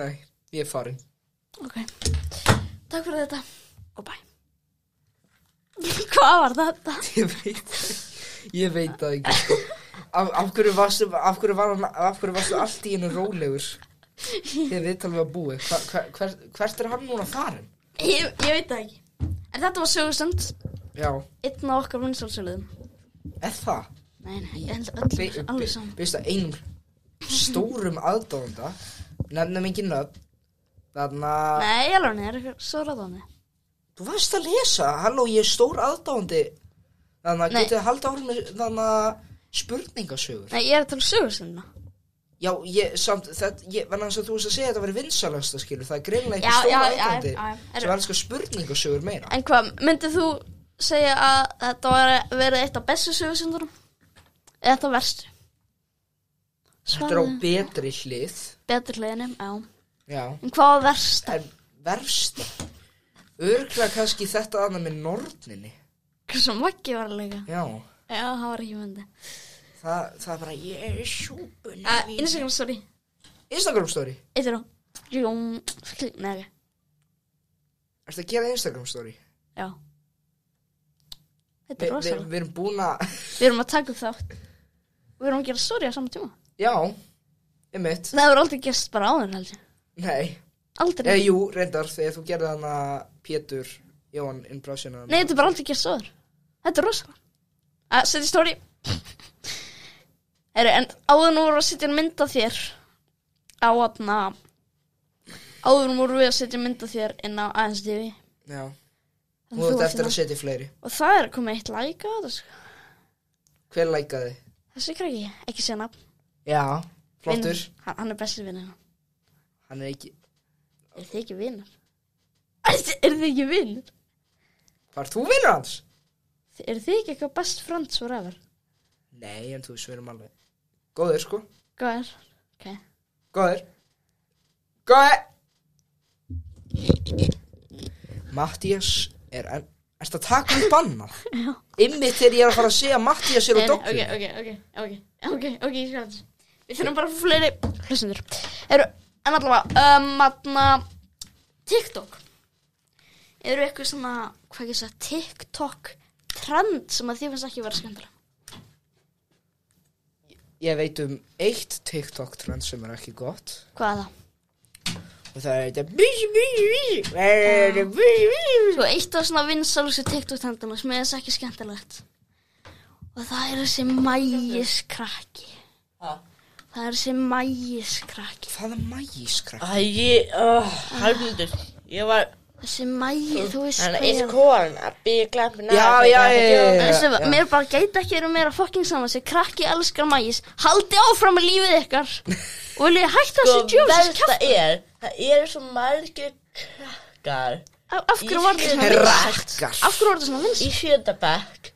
B: Nei, ég er farin
C: Ok, takk fyrir þetta og bæ Hvað var þetta?
B: Ég veit það Ég veit það ekki sko. af, af, hverju varstu, af, hverju var, hann- af hverju varstu allt í hennu rólegur Þegar við talum við að búi hva, hva, hver, Hvert er hann núna farin?
C: Ég, ég veit það ekki En þetta var sögustund
B: Já,
C: Einn af okkar vinsálsöluðum
B: er það?
C: Nei, nei, ég held öll
B: Be- be-
C: alveg saman
B: Veistu að einum stórum aðdóðanda Nefnum ekki nöfn Þarna
C: Nei, alveg nei, er eitthvað svo ráðandi
B: Þú varst að lesa, halló ég er stór aðdóðandi Þarna
C: Nei.
B: getið haldið árum með þarna spurningasögur
C: Nei, ég er að tala um sögustundina
B: Já, ég, samt, þetta, ég, vegna þess að þú veist að segja að þetta verið vinsalasta skilur, það er greinlega
C: Já,
B: ekki stóra
C: já, já,
B: aðdóðandi
C: já, já. Er-
B: sem elskar spurningasögur meira.
C: En hvað, myndið þú segja að þetta var verið eitt af bestu sögustundurum? Eða þetta verstu?
B: Þetta er á
C: Svarið-
B: betri hlið,
C: Betri hliðinni, já
B: já,
C: En hvað var versta?
B: en versta, örglega kannski þetta annað með norninni,
C: Hversu maggi var að leika?
B: já,
C: Já, það var ekki myndið
B: það, það er bara, ég er sjúpun.
C: Ah, Instagram story
B: Instagram story,
C: Eitt er á Jón, skil, nei, ok,
B: ertu að gera Instagram story?
C: já Þetta
B: Vi,
C: er
B: vi,
C: rosalega
B: við erum búin að,
C: Við erum að taka upp þátt Við erum að gera story á sama tíma
B: já, einmitt,
C: Það hefur aldrei gerst bara áður held ég
B: nei,
C: Aldrei
B: eða jú, reyndar, þegar þú gerði hana Pétur Jón Inbrásjana.
C: Nei, þetta er bara aldrei gerst áður Þetta er rosalega Að setja í story Heru, En áður nú voru að setja mynda þér Á aðna Áður nú voru við að setja mynda þér Inn á aðeins TV
B: Já,
C: En
B: þú
C: þú
B: ert
C: ert
B: eftir
C: hérna.
B: að setja í fleiri.
C: Og það er komið eitt like á þetta sko.
B: Hver lækaði?
C: Þessi krakki, ekki sé nafn
B: Já, flottur.
C: Vinur. hann, hann er bestir vinnina
B: Hann er ekki,
C: Er þið ekki vinnar? Er þið ekki vinnar?
B: var þú vinnur hans?
C: Er þið ekki eitthvað best friends forever?
B: Nei, en þú veist, við erum alveg. Góður, sko.
C: Góðar Ok
B: Góður. Góður. Mattías er, er, ertu að taka um banna? Já. Ymmið þegar ég er að fara að segja að Mattías er á
C: Nei, nei,
B: dokkur.
C: ok, ok, ok, ok, ok, ok, ég skal þess Við þurfum bara að fá fleiri hlustendur Eru, en allavega, um, matna TikTok Eru eitthvað svona, hvað ekki það, TikTok trend sem að þið finnst ekki vera skemmtilega
B: Ég veit um eitt TikTok-trend sem er ekki gott.
C: Hvað er það?
B: Og það er þetta bísi, bísi, bísi. Það er þetta bísi, bísi, bísi.
C: Svo eitt af svona vinsalustu TikTok trendina sem er þess ekki skemmtilegt Og það er þessi mægiskrakki
A: Ha?
C: Það er þessi mægiskrakki
B: Hvað er magískra?
A: Æ, ég, oh, halvmyndur Ég var,
C: Þessi mægi, þú veist
A: hann
C: hvað
A: er
C: ég er-
A: skoðan að byggja glampina
B: Já, já, já, já.
C: Þessu, mér bara gæti ekki verið meira fokking saman þessi krakki elskar mægis haldi áfram með lífið ykkar og viljið hætta þessu
A: Sko,
C: djóðsins
A: versta
C: kæft
A: er, það eru svo margir krakkar
C: Af, af hverju var þetta svona
A: Herra.
C: vinsælt?
B: Rakkar
C: Af hverju var þetta svona vinsælt?
A: í sjönda bekk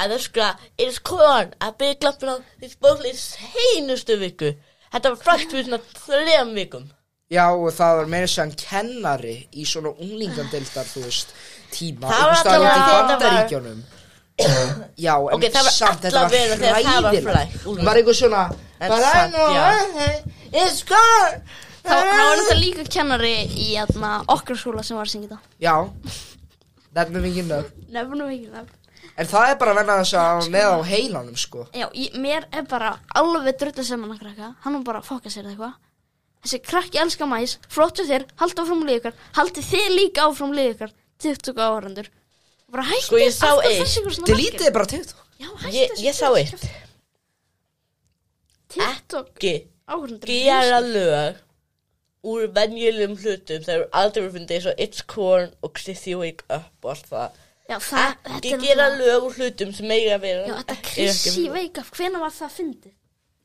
A: að sko, öskra It is corn að byggja glampur á því spókli í seinustu viku Þetta var frækt fyrir svona þrejum vikum
B: Já og það var meira sér hann kennari í svona unglingandeildar þú veist tíma
A: Það var
B: einhvers staðar
A: allavega
B: úti í
A: þegar þetta var-
B: bandaríkjónum Já en
A: Ok, það var
B: samt þetta var
A: allavega þegar það var
B: hræðilegt.
A: frækt.
B: Hún var eitthvað svona
A: En
B: Bara
A: samt,
B: nú eh,
A: já.
B: It's gone
C: Þá þá var þetta líka kennari í jæna, okkar skóla sem var að syngja þetta.
B: Já Nefnum ekki nöfn
C: Nefnum ekki nefn.
B: En það er bara að venna þess að hann var með á heilanum sko
C: Já, ég, mér er bara alveg drullið sem hann að krakka. Hann var bara að fokka sér eða eitthvað. Þessi krakki elska mæs, flottu þér, haldi áfram liðið ykkar, haldi þið líka áfram liðið ykkar, TikTok áhörandur. Bara hætti
A: Sko, ég sá eitt.
B: Delítið bara TikTok
C: Já,
A: Ég,
C: hætti
A: ég sá eitt
C: TikTok
A: Ekki
C: áhörandur.
A: gera lög úr venjulegum hlutum þegar aldrei verið fundið eins og It's corn og Chrissy Wake Up og allt það
C: Já, það, þetta
A: Ekki
C: er
A: gera
C: náttúrulega-
A: lög úr hlutum sem eiga að vera
C: Já, þetta
A: ekki-
C: Krissi
A: ekki-
C: veikaf, hvenær var það fyndið?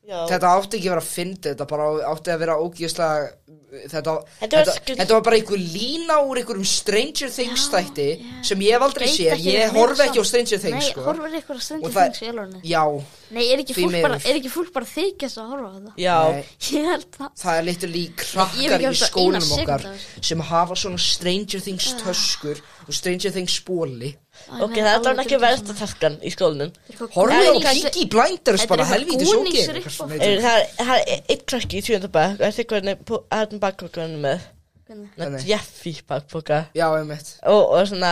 A: Já.
B: Þetta átti ekki að vera að fyndi, þetta bara átti að vera ógjöfslega þetta,
A: Þetta var
B: þetta,
A: skil-
B: þetta var bara einhver lína úr einhverjum Stranger Things
C: Já,
B: þætti
C: já.
B: sem ég hef aldrei
C: Veit
B: séð,
C: ekki,
B: ég
C: mér
B: horfi ekki á
C: samt.
B: Stranger Things
C: Nei,
B: sko.
C: horfir eitthvað á
B: Og
C: Stranger
B: það-
C: Things í alvörunni
B: Já,
C: Nei, er ekki
B: Því
C: fólk
B: miður.
C: bara, er ekki fólk bara þykjast að horfa á það?
A: Já,
B: Nei,
C: Ég held það
B: það er litur lík krakkar í
C: ekki horft á eina
B: skólanum
C: sekúndu
B: okkar
C: af þessu.
B: sem hafa svona Stranger Things töskur og Stranger Things bóli
A: ok, það er alveg ekki versta taskan í skólanum
B: Horfið
A: Já,
B: á
A: þetta-
B: Peaky Blinders
C: þetta er
B: bara
C: eitthvað
B: helvítið svo
C: Goonies rip-off.
A: Er, það, er, það er eitt krakki í sjönda bekk og eftir hvernig po- hann bakpokkanum með
B: Hvernig?
A: Þannig Jeffy bakpoka
B: Já, einmitt,
A: og, og svona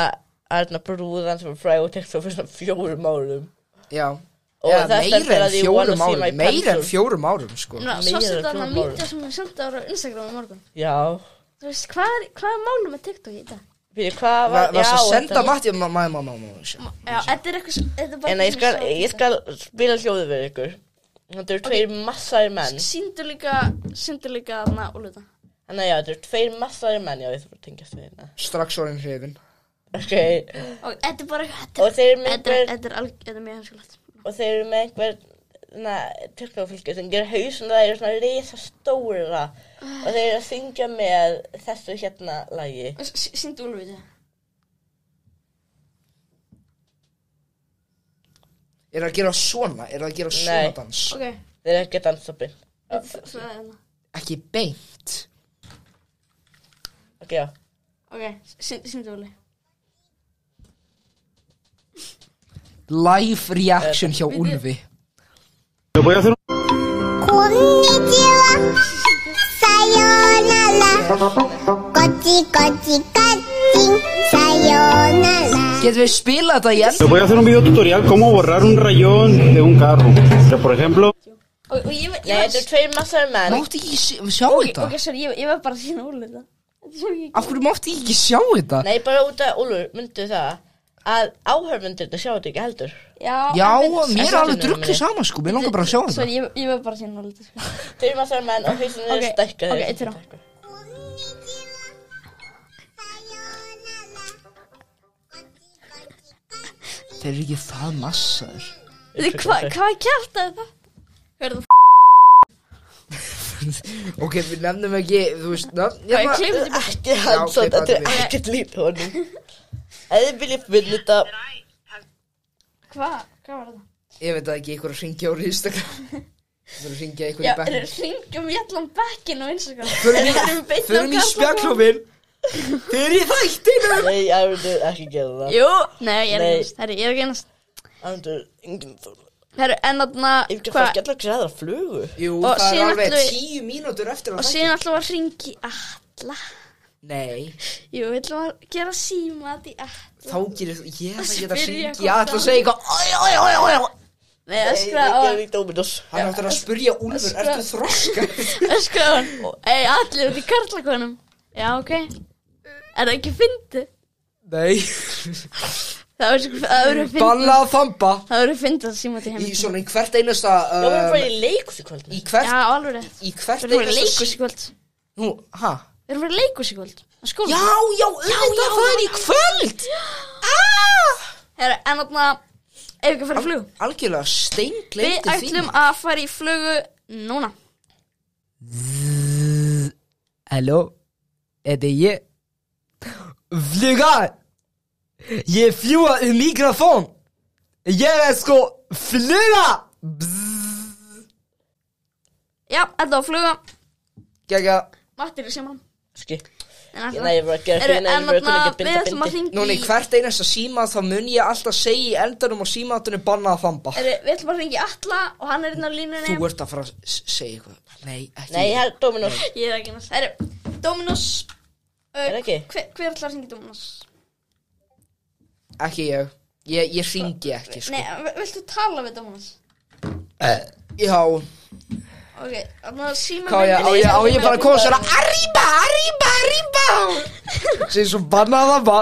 A: Arna brúðan sem var fræg og tekst fyrir svona fjórum árum
B: já
A: Og
B: Eða
A: það stendur
B: meira
A: að
B: en
A: því
B: fjórum
A: wanna see
B: árum,
A: my
B: meira en
A: pencil.
B: fjórum árum sko
C: Ná,
A: Meira en
C: svo setja
A: fjórum
C: hann að
A: árum.
C: mítja sem ég sendi ára á Instagram á morgun
A: Já
C: Þú veist, hvað er, hvað er málum með TikTok í dag?
A: Fyrir hvað var
B: Var það að senda
A: þetta-
B: Matti Má, má, má, má, má, má
C: Já, þetta er eitthvað, sem- þetta er bara
A: En ég skal, ég skal spila hljóðu við ykkur Þetta eru tveir massari menn
C: Sýndu líka, sýndu líka þarna og luta
A: Þannig að já, þetta eru tveir massari menn Já, ég þarf að tengja því hérna
B: strax orðin hrifin
A: Ok,
C: Og þetta er bara, þetta
A: og
C: er,
A: þeir eru með
C: þetta er,
A: einhver
C: þetta er, alg- þetta er mjög hanskulegt
A: Og þeir eru með einhver Törkafylgju sem gerir hausin Það eru svona risa stóra Og þeir eru að syngja með þessu hérna lagi
C: Sýndu Úlfi þetta
B: Er það að gera svona? Er það að gera svona
A: Nei.
B: dans?
C: Ok,
A: Þeir eru ekki að dansa beint
C: þetta er svona þarna
B: Ekki beint
A: Ok, já
C: Ok, sýndu Úlfi
B: Live reaction hjá Ulfi
E: Lo voy a hacer
F: Konnichiwa Sayonara Kochi kochi kachi Sayonara
B: Getum við spilað þetta í enn?
E: Les voy a hacer un video tutorial cómo borrar un rayón de un carro. O sea, por ejemplo,
C: Og, og ég, ég
A: Nei, þetta eru tveir massari menn
B: Máttu ekki sé- sjá
C: Ok,
B: þetta?
C: ok, sorry, ég, ég var bara að sína Úlfi þetta Þetta er svo ekki
B: Af hverju máttu ekki sjá þetta?
A: Nei, bara út af Úlfur, myndu það að áhörfundir þetta sjá þetta ekki heldur
C: Já,
B: Já,
C: en við-
B: mér er
A: Sorry,
B: alveg
A: Numi.
B: druggið sama sko Mér langar bara að sjá
C: Sorry,
B: þetta
C: ég, ég var bara að sína Úlfi þetta sko.
A: Þeir eru massari menn og hausin
C: Ok,
A: eru stækka
C: ok, eitt fyrir á.
B: Þeir eru ekki það massaður
C: Þið, hva- Hvað kjart að það? Hörðu,
B: Ok, við nefnum ekki, þú veist nöfn,
C: það er
B: hérna-
C: klippið til búið
A: Ekki
B: Já,
A: hann
B: ok,
A: svo, þetta er
B: bara við.
A: ekkert lítið honum Ef þið viljið finna þetta
C: Hvað, hvað var það?
B: Ég veit það ekki, ykkur að ringja úr Instagram Þú að ringja ykkur
C: Já,
B: í
C: eru
B: bekk
C: hringjum allan bekkin og Instagram
B: Förum í,
C: erum beinn á
B: förum í
C: Karlakór.
B: spjallhófin Þeir eru í þættinu
A: Nei, ég myndu ekki gera það
C: Jú, nei, ég er
A: Nei.
C: ekki næst, herri, ég er ekki næst
A: Ég myndu enginn þóla
C: Herri, en þarna,
A: Ég myndi að fara
C: hvað,
A: skella ekki aðra flugu
B: Jú,
C: Og
B: það er
C: síðan
B: alveg
C: ætlum við-
B: tíu mínútur eftir að
C: og síðan ætlum við að ringi alla
B: Nei,
C: Jú, við ætlum að gera símat í alla
B: þá gerir þú, ég ætla ekki að
C: Spyrja
B: syngja,
C: hvort
B: ég ætla að segja eitthvað Æ, æ, æ, æ, æ
C: Nei, öskra á
A: Ég
C: hann,
A: er í Dominos
B: Hann áttur að spyrja Úlfur,
C: Öskra.
B: ertu þroska?
C: öskra á hann Ei, allir út í karlakonum Já, ok Er það ekki fyndið?
B: Nei
C: Það verður- það verður fyndið
B: Balla að þamba
C: Það verður fyndið að símat í
B: Í
C: heim
B: svona í hvert einasta
A: Ég myndi að
B: um,
A: fara í leikus í kvöld
B: Í hvert,
C: Já, alveg rétt
B: í hvert
C: Við erum verið
B: einasta
C: leikus í kvöld Við
B: Nú, ha?
C: erum verið leikus í kvöld Á skóla
B: Já, já, auðvitað, það er í kvöld Ah!
C: Heru, En þarna Ef ekki að fara í flug
B: Algjörlega steingleymdu
C: Við
B: því
C: ætlum að fara í flugu núna
B: E Halló, þetta er ég Flyga! Ég fljúa um mikrofón Ég er sko fluga
C: Já, þetta á fluga
B: Gægja
C: Matti er í símanum
A: Skil
C: En alltaf-
A: Nei, ég var að gera
C: Eru,
A: fyrir
C: en
A: nefnir
C: þarna,
A: að
C: Við
A: binda
C: ætlum að
A: bindi
C: ringi
B: Núni, hvert einasta síma þá mun ég alltaf segja í endanum og símatunum bannað að þamba
C: Við ætlum að ringi alla og hann er inn á línunni
B: Þú ert að fara að s- segja eitthvað Nei, ekki
A: Nei, það er Dominos
C: Ég er ekki næst Herru, Dominus
A: Er
C: uh,
A: ekki?
C: hver, hver ætlar að ringi Dominus?
B: Ekki ég Ég, ég ringi ekki sko
C: Nei, v- viltu tala við Dominus?
B: Eh. Já,
C: Ok, þannig að síma
B: hvað á ég, á ég, á ég bara að koma svona Arriba, arriba, arriba Sér svo bannað að þamba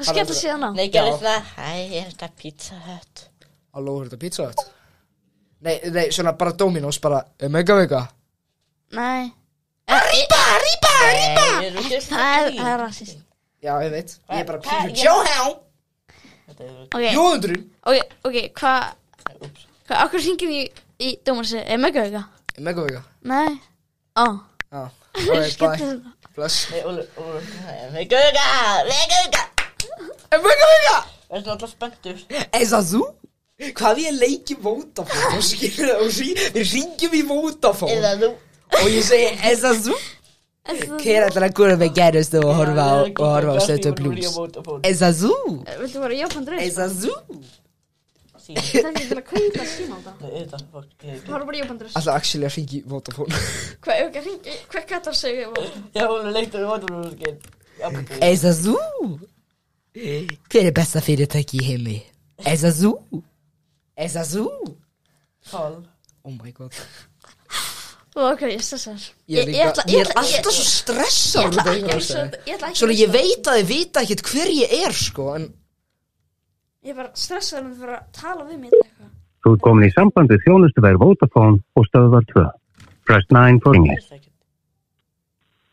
C: Það skella síðan á
A: Nei, gerði það Hæ, ég er þetta pizza hött
B: Halló, er þetta pizza þetta? Nei, nei, svona bara Dominos, bara Mega, mega
C: Nei, Eh,
A: Nei, ég er ekki
C: það er, það er rasist
B: Já, ég veit, ég er bara
A: Hvað-
B: pínu Jóhá
C: Ok,
B: Jóhundurinn
C: ok, ok, hvað Hvað, okkur ringir í, í Dominus Er mega auka?
B: Mega, mega
C: Nei Ó,
B: Já, ok, bye
C: skella
B: Bless
A: Nei, Úlur, Úlur Meguga, meguga
B: Mega, mega
A: Verður náttúrulega spenntur
B: Eða þú? Hvað ég leiki Vodafone og skilur það og sí, við ringjum í Vodafone
A: Eða þú
B: og ég segi Eða þú? Hver ætlar að góra með gerðustu og horfa á, og horfa á stötu blues? Eða þú?
C: Viltu bara jáfnum dreif?
B: Eða þú?
A: Síðan,
C: Það er ekki til að kaupa síma á það
A: auðvitað, fólk ég ekki.
C: Það er bara jáfnum dreif
B: Alltaf actually að ringi Vodafone
C: Hvað, ef ekki að ringi, hvað kallar sig Hvað
A: Já, Úlur, leiktur í Vodafone
B: Eða þú? Hver er besta fyrirtæki í heimi? Eða þú? Eða þú?
A: Kál
B: Oh my god
C: ok, ég stressar
B: Ég er,
C: Ég-
B: líka,
C: ég
B: ég
C: ætla- ég
B: ég er
C: ætla- ég-
B: alltaf svo stressað
C: Ég
B: út af
C: ætla ekki að
B: einhverju
C: hugsa þetta- ég ætla ekki að
B: Svona
C: hugsa
B: ég veit að þið vita ekkert hver ég er sko En
C: Ég bara stressaði mig fyrir að tala við mig eitthvað.
G: Þú ert komin í samband við þjónustuverð Vodafone og stöðvar 2. Press 9 for English.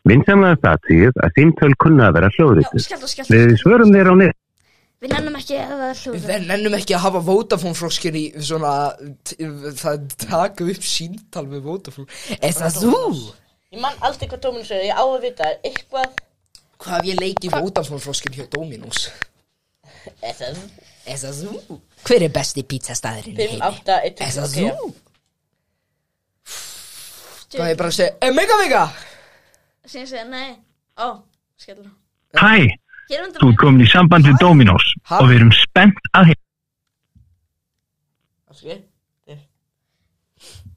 G: Vinsamlega statíð að símtöl kunna að vera
C: Já,
G: hljóðrýttur.
C: skella, skella.
G: Við svörum þér á nýtt.
C: Við nennum ekki að það er hljóður.
B: við nennum ekki að hafa Vodafone froskir í svona t- Það taka upp síntal með Vodafone Eða þú?
A: Ég man aldrei hvað Dominos er, ég á að vita það er eitthvað
B: Hvað hef ég leikið Vodafone froskin hjá Dominos?
A: Eða þú
B: Eða þú? Hver er besti pítsastæðurinn
A: 5, 8, 1, 2,
B: Eða
A: 3,
B: þú? Hvað ég bara að segja eh, Mega mega
C: Sem ég segja, nei, ó, skellur.
H: Hæ,
C: Hér undir
H: þú ert komin í samband við Dominos
B: Hæ?
H: og við erum spennt að heyra.
A: Áskil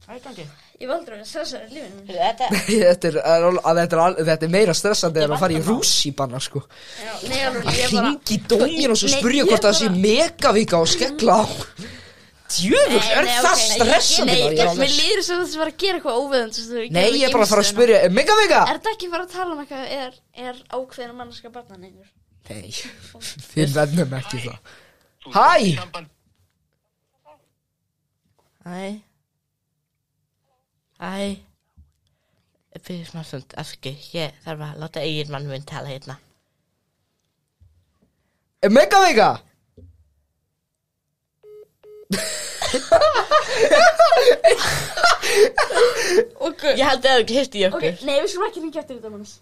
A: Það er gangi
C: Ég var aldrei að vera stressaður í lífinu. mínu.
A: Heyrðu, Þetta
B: Þetta er, er, al- að þetta er, al- þetta er meira stressandi en að fara í
A: vandamál.
B: rússibanna sko
C: Já, nei, alveg, ég bara,
B: Ringi Dominos og
C: Nei,
B: spurja
C: ég
B: hvort það sé
C: bara-
B: megavika og skella á Djöfull,
C: Nei,
B: er
C: nei,
B: það
C: ok, nei,
B: stressandi
C: nei,
B: maður? Ég er
C: ég, mér
B: alveg-
C: líður sem þú þess að vera að gera eitthvað óveðum. Svo, þú
B: Nei, ég er bara að fara að spurja Megavika?
C: Er þetta ekki bara að tala um eitthvað, er, er ákveðin mannska barnan einhver?
B: Nei, við vennum ekki það Hæ,
A: Hæ Hæ Fyrir smá stund, afski Ég þarf að láta eigin mann minn tala hérna
B: Megavika
C: Ok,
A: Ég held að það ekki hitt í
C: ok,
A: okkur
C: nei, við skulum ekki ringja eftir þetta manns.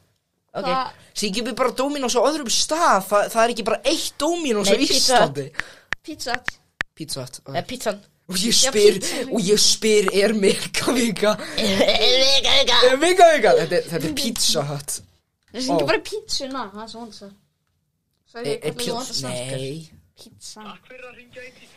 A: Ok,
C: Það-
B: Sýkjum við bara Dominos á öðrum stað Þa, Það er ekki bara eitt Dominos á
A: Nei, Pizza Hut.
B: Íslandi
C: Pizza Hut.
B: Pizza Hut
A: það
B: ok.
A: er pizzan
B: Og ég spyr, og ég spyr er Megavika
A: Vika, vika
B: Megavika, þetta, er- þetta er Pizza Hut
C: Við skulum
B: Ó.
C: bara pizzuna, það er svo vondt svo. Svo er
B: Er,
C: ég
B: er
C: kallar vondt
B: Eh, pizza, nei
C: Pizza.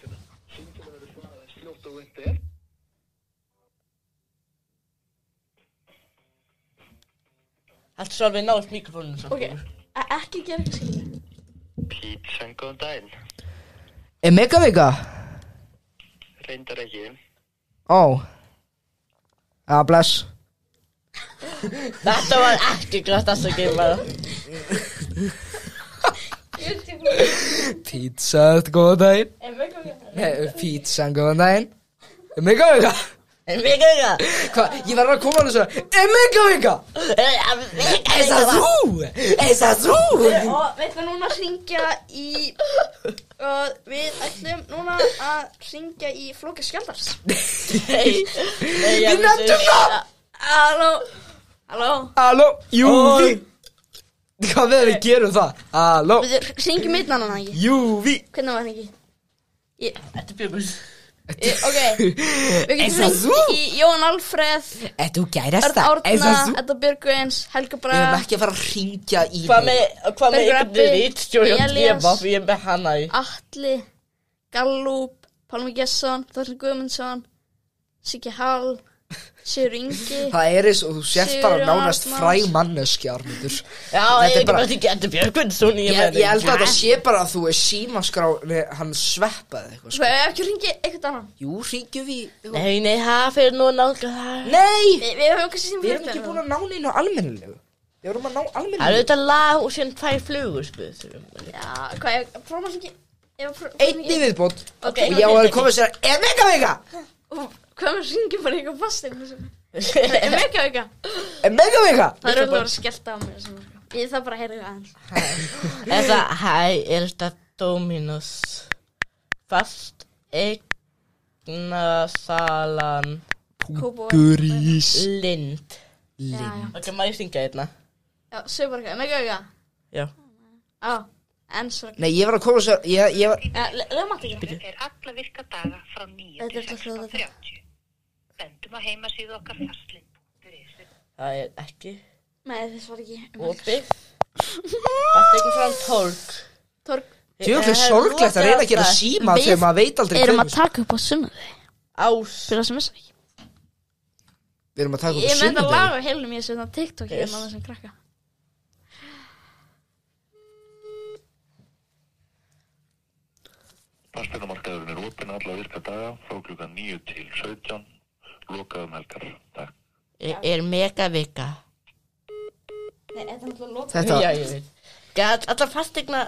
A: Haldur svo alveg náðist mikrofónum svo
C: Ok, e- ekki gera eitthvað skilja.
I: Pítsan, góðan daginn.
B: Eh, Megavika
I: Reyndar ekki.
B: Ó Já, bless
A: Þetta var Ah, ekki grátt afsökið bara
B: Pizza, góðan daginn
C: Er mjög mjög
B: Nei, Pizza, Eh, góðan daginn Megavika
A: Vika, vika
B: Hvað, ég verður að koma alveg svona Megavika, er
A: Vika,
B: það þú? Er það þú?
C: Og við ætlum núna að ringja í og við ætlum núna að ringja í Flóki Skjaldars
A: vika
B: Við nefndum það
C: Halló Halló
B: Halló, jú,
A: Oi.
B: við Hvað verður við gerum það? Halló
C: Við syngjum einn annan ekki
B: Júvi
C: Hvernig var það ekki?
A: Þetta er bjöfum
C: Ég- Ok Við getum
B: Eins og þú.
C: hringt í Jón Alfreð
B: Er þú
C: Örn
B: gærasta? Er
C: Árna
B: það þú?
C: Edda Björgvins Helga
B: Við erum
C: Braga
B: ekki að fara að ringja í
A: Hvað með, hvað með
C: Bergur
A: ykkur
C: Ebbi,
A: rítstjóri og
C: Elías.
A: dema Ég er með hana í
C: Atli Gallup Pálmi Gesson Þorfinn Guðmundsson Siggi Hall Sigur Ingi
B: Það er eins og þú sért bara
C: Sigurjón
B: nánast
C: Arnars.
B: fræg manneskja Arnundur
A: Já,
B: Þetta
A: ég
B: er
A: er
B: bara-
A: bara ekki Edda Björgvinsson
B: Ég,
A: Ég
B: ég
A: meina,
B: held að þetta sé bara að þú er símaskrá Nei, hann sveppaði eitthvað
C: Svo
B: sko.
C: ef ég ekki ringi eitthvað annan
B: Jú, ringjum við í-
A: Nei, nei, það fyrir nú að nálga það
B: Nei,
C: Við, við höfum kannski hérna. sem
B: við erum ekki búin að ná neina almennilegu Við erum að ná
A: Það er
B: almennilegu
A: auðvitað lag og síðan tvær flugur, sko þurfum.
C: Já, hvað, ég prófum að hringi Ég var að prófa-
B: Einni viðbót
C: Ok,
B: Og já,
C: ok,
B: það er
C: ok.
B: komið sér að Er mega vega?
C: Hvað með hringi bara eitthvað fast eitthvað sem Er mega eitthvað
B: Er mega vega?
C: Það er alveg að vera skellt á mér svona, sko. Ég þarf bara að heyra eitthvað aðeins
A: Þetta, hæ, er þetta Dominos Fast eignasalan
C: Kópavog.
B: Grís
A: Lind
C: Já, já.
A: Ok, maður ég syngja hérna
C: Já, segðu bara eitthvað, er mega eitthvað
A: Já
C: Já, enn svo
B: Nei, ég var að koma sér Ég, ég var
C: Lögum alltaf ekki
I: er alla virka daga frá 9
C: Þetta er alltaf hljóðað.
I: 16.30. Bendum á heimasíðu okkar fastlind.is.
A: Það er ekki
C: Nei, þess var ekki
A: opið Fast eign fram tólk
C: Torg
B: Tjóklega sorglegt að reyna að gera síma
C: Við
B: Þegar maður veit aldrei
C: Erum að
B: hvenær-
C: taka upp á sunnuði
A: Ás
C: Fyrir það sem þess ekki
B: Við erum að taka
C: Ég
B: upp
C: með það
B: sunnudegi
C: laga heilum ég sem það TikTok Ég er maður sem krakka
I: Fasteignamarkaðurinn er opinn alla virka daga frá klukkan 9 til 17. Lokaðum helgar. Takk.
A: Er, er mega vika
C: Nei, þetta er alltaf lóta
B: Þetta
A: Já, ég veit Gat, allar fast eigna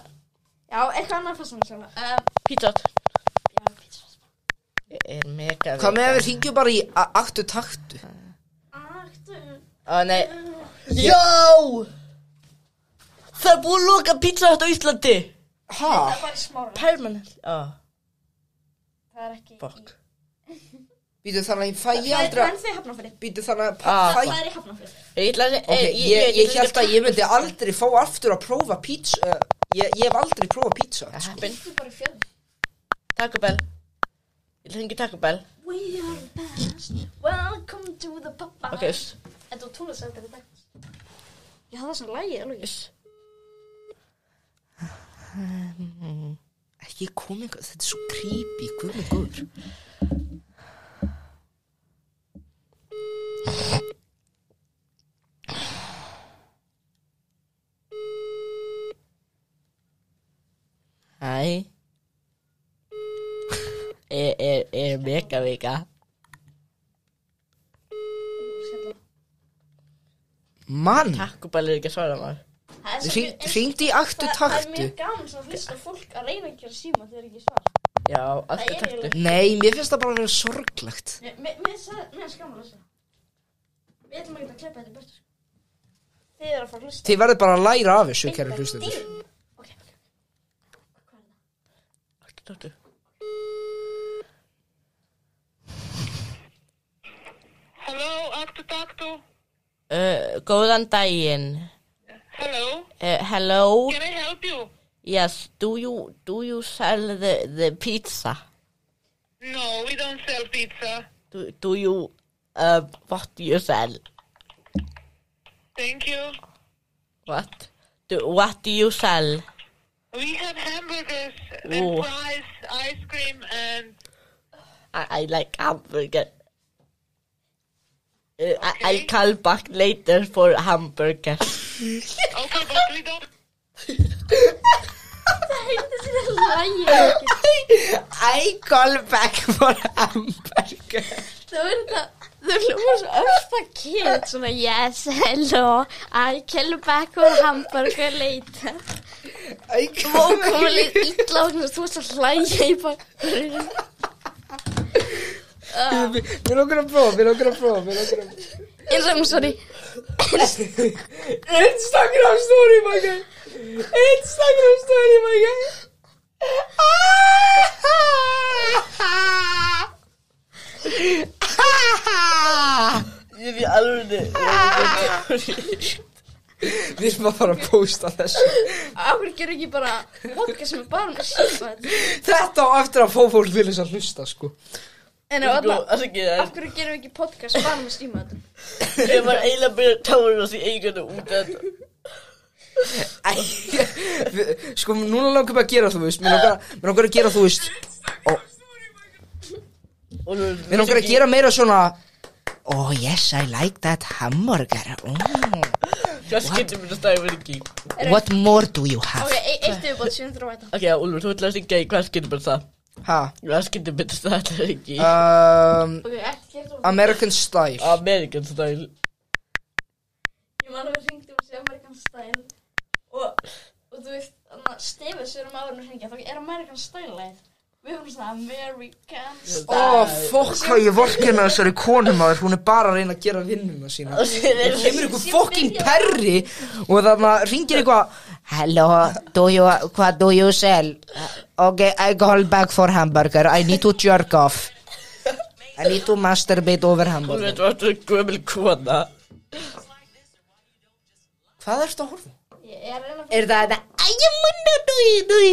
C: Já, eitthvað annað fast sem þess
A: Pítot
C: Ehm, Já, pizza
A: Er mega vika
B: Hvað með að við ringjum bara í a- aktu taktu?
A: Ó, Ah, nei Já Það er búið að loka pizza hut á Íslandi Ah.
B: Ha?
C: Bara smára
A: Permanent Ó,
C: Það er ekki
A: fuck
B: Býtu þannig að ég fæ ég
C: Það
B: aldrei
C: er
B: að...
C: enn þau hafnafrið
B: Býtu þannig
A: Ah,
B: að...
C: Það
B: Fæ...
C: er í hafnafrið
A: Ég ætla að
B: Ok,
A: eh,
B: ég, ég
A: ætla
B: held að ég myndi aldrei fá aftur að prófa pizza uh, ég, ég hef aldrei prófað pizza
A: Það
B: sko.
A: happen Taco Bell Ég hringi Taco Bell
C: We are the best Welcome to the papa
A: Ok, uss
C: Þetta var tónlistarðið í dag Ég hafði það sem lægi, alveg
A: Uss
B: Ekki komið, þetta er svo creepy Guð með guður
A: Hæ Er, er, er mega vika
B: Mann,
A: Taco Bell er ekki að svara maður
B: hringdi í aktu
C: Það er
B: taktu
C: mjög gaman svona að hlusta á fólk að reyna að gera síma þegar ekki svar
A: Já, alltaf
C: Það er
A: taktu
B: Nei, mér finnst það bara að vera sorglegt
C: Mér- Mér mér sagði- mér er skammal að segja Við ætlum ekki að klippa þetta í burtu sko. Þið eru að fara að hlusta
B: Þið verður bara að læra af þessu, kæri hlustendur
C: Dýr. Ok,
A: Aktu taktu
I: Hello, aktu taktu.
A: uh, Góðan daginn
I: Hello,
A: uh, Hello
I: can I help you?
A: Yes, do you do you sell the the pizza?
I: No, we don't sell pizza.
A: Do do you uh what do you sell?
I: Thank you.
A: What do what do you sell?
I: We have hamburgers
A: Ooh.
I: and fries, ice cream and...
A: I, I like hamburger. Uh, I, I call back later for hamburger.
I: Okay, but we don't...
B: I call back for hamburger
C: Það verður þetta Þau hljóma svo öfta kid Svona yes, hello I came back with hamburger later
B: I
C: Og
B: call
C: komið líka illa og svona, þú ert að hlæja í bakgrunni
B: Mér lókur að prófa, mér lókur að prófa, mér lókur að prófa
C: Eins og hún, sorry
B: Instagram story, my guy Instagram story, my guy
C: Ah!
A: Ég er alveg
B: Við erum að fara að posta þessu
C: Akkur gerur ekki bara podcast sem er bara með símat
B: Þetta á eftir að fá fólk til þess að hlusta sko
C: En ef alla
A: Það er ekki það
C: Akkur gerur við ekki podcast bara með símat
A: Ég var eiginlega að byrja að tára þessi eiginu út af þetta
B: Æ, við- Sko núna langar bara að gera þú veist Mér langar- mér langar að gera þú veist
A: Og nú-
B: Mér langar að gera meira svona Oh yes I like that hamburger oh,
A: Hvað skiptir mér að stæða verið ekki
B: What more do you have
C: Ok, e- eitt yfirbót sem þú þurfum að
A: Ok, Úlfur, þú ætlaði að syngja í hvað skiptir mér að það
B: Ha
A: Hvað skiptir mér að stæða þetta ekki
B: um,
D: Ok, ekki gera það.
B: American style
A: American style
C: Ég man að við ringdum þessi Amerikan Style og, og þú veist, þannig að stefið sem erum áður að hringja, þá er Amerikan Style leið. Við höfum svona Amerikan Style.
B: Ó, fokk hvað ég vorkina þessari konum maður Hún er bara að reyna að gera vinnuna sína
A: Og síðan er það
B: Kemur ykkur fokking perri Og þannig að ringir eitthvað Hello, do you, what do you sell? Ok, I call back for hamburger I need to jerk off I need to masturbate over
A: Úlfur,
B: hamburger
A: þú ætlaði að gömul kona
B: Hvað ertu að horfa?
C: Ég er að reyna að
B: Er það þetta Æjumundu, dui, dui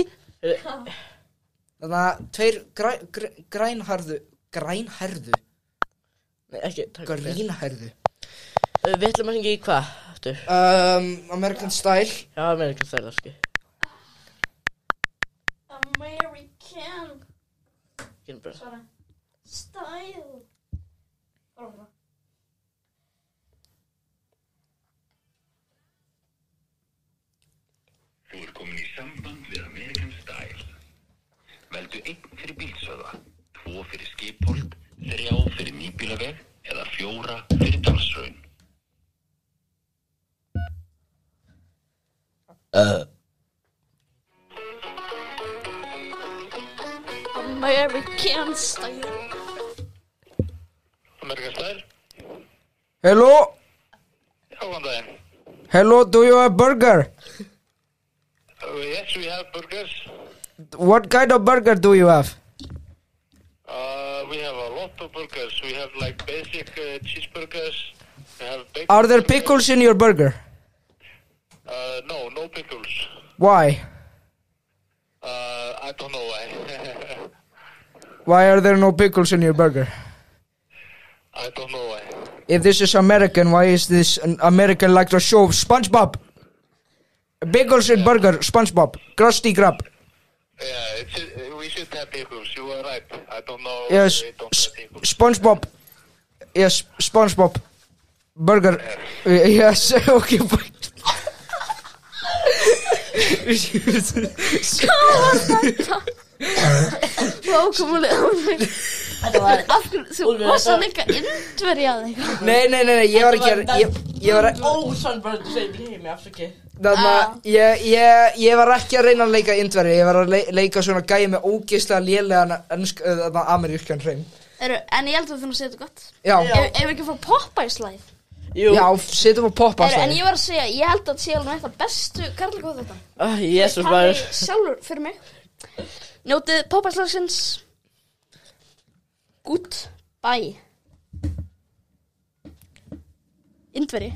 B: Þannig að tveir græ, græ, grænharðu Grænharðu
A: Nei, ekki, takk fyrir
B: Grínharðu
A: Uh, Við ætlum að syngja í hvað aftur?
B: um, American
A: Já,
B: style
A: American style, sko
C: Amerikan
A: Gerum bara
C: svara. Style. Bara bara.
I: Þú er komin í samband við American Style. Veldu einn fyrir bílsöða, tvo fyrir skipholt, þrjá fyrir nýbílaveg eða fjóra fyrir dalsraun.
C: Amerikan Style.
I: American Style?
B: Hello,
I: Já, góðan daginn.
B: hello, do you have burger?
I: Uh, yes, we have burgers.
B: What kind of burger do you have?
I: Uh, we have a lot of burgers. We have like basic uh, cheeseburgers. We have bacon
B: Are there
I: burgers.
B: pickles in your burger?
I: Uh, no, no pickles.
B: Why?
I: Uh, I don't know why.
B: Why are there no pickles in your burger?
I: I don't know why.
B: If this is American, why is this an American like the show SpongeBob? Pickles in burger, SpongeBob, Krusty Krab.
I: Yeah, it's, uh, we should have pickles. You are right. I don't know. why
B: Yes,
I: we don't
B: S-
I: have pickles.
B: SpongeBob. Yes, SpongeBob. Burger. Uh, Yes, okay. fine.
D: Þetta var aftur, þú
A: Úlfur,
D: varst
A: þetta-
D: hann eitthvað indverjað eitthvað.
B: nei, nei, nei, nei, ég var ekki að- ég, ég var ekki
A: Ósann bara að segja í heimi, afsaki
B: Þarna, ég, ég, ég var ekki að reyna að leika indveri, ég var að le leika svona gæi með ógeðslega lélegan ennsk, uh, þarna, amerískan hreim.
C: Eru, en ég held að þú finnum að segja þetta gott.
B: Já,
A: Já.
C: Ef ef við ekki að fá Popeyes leið.
A: Jú
B: já, setjum á poppa
C: Eru, en ég var að segja, ég held að þetta sé alveg eitt af bestu karlíkóð þetta.
A: Ah, Jésus
C: Tali
A: maður
C: sjálfur fyrir mig Njótið popparslagsins Goodbye Indveri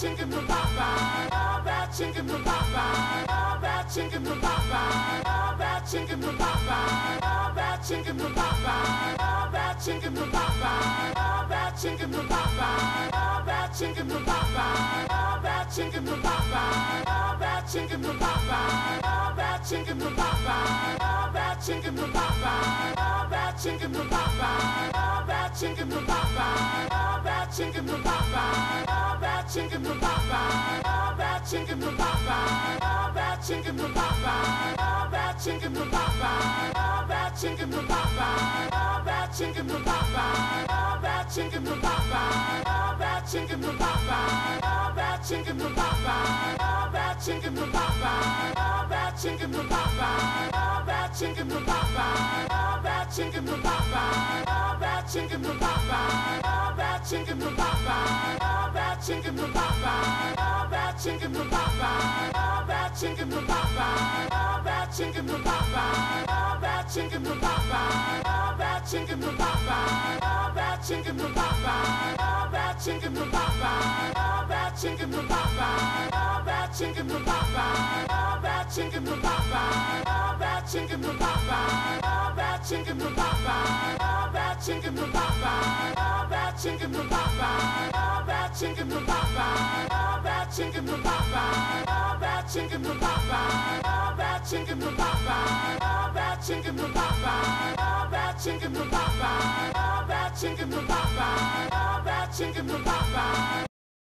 F: chicken from Popeye. All that chicken from Popeye. All that chicken from Popeye. All that chicken from Popeye. All that chicken from Popeye. All that chicken from Popeye. All that chicken from Popeye. All that chicken from Popeye. All that chicken from Popeye. All that chicken from Popeye. All that chicken from Popeye. All that chicken from Popeye. All that chicken from Popeye. All that chicken from Popeye. All that chicken from Popeye. All that chicken from Popeye. All that chicken from Popeye. All that chicken from Popeye. All that chicken from Popeye. All that chicken from Popeye. All that chicken from Popeye. All that chicken from Popeye. All that chicken from Popeye. All that chicken from Popeye. All that chicken from Popeye. All that chicken from Popeye. All that chicken from Popeye. All that chicken from Popeye. All that chicken from Popeye. All that chicken from Popeye. All that chicken from Popeye. All that chicken from Popeye. All that chicken from Popeye. All that chicken from Popeye. All that chicken from Popeye. All that chicken from Popeye. All that chicken from Popeye. All that chicken from Popeye. All that chicken from Popeye. All that chicken from Popeye. All that chicken from Popeye. All that chicken from Popeye. All that chicken from Popeye. All that chicken from Popeye. All that chicken from Popeye. All that chicken from Popeye. All that chicken from Popeye. All that chicken from Popeye. All that chicken from Popeye. All that chicken from Popeye. All that chicken from Popeye. All that chicken from Popeye. All that chicken from Popeye.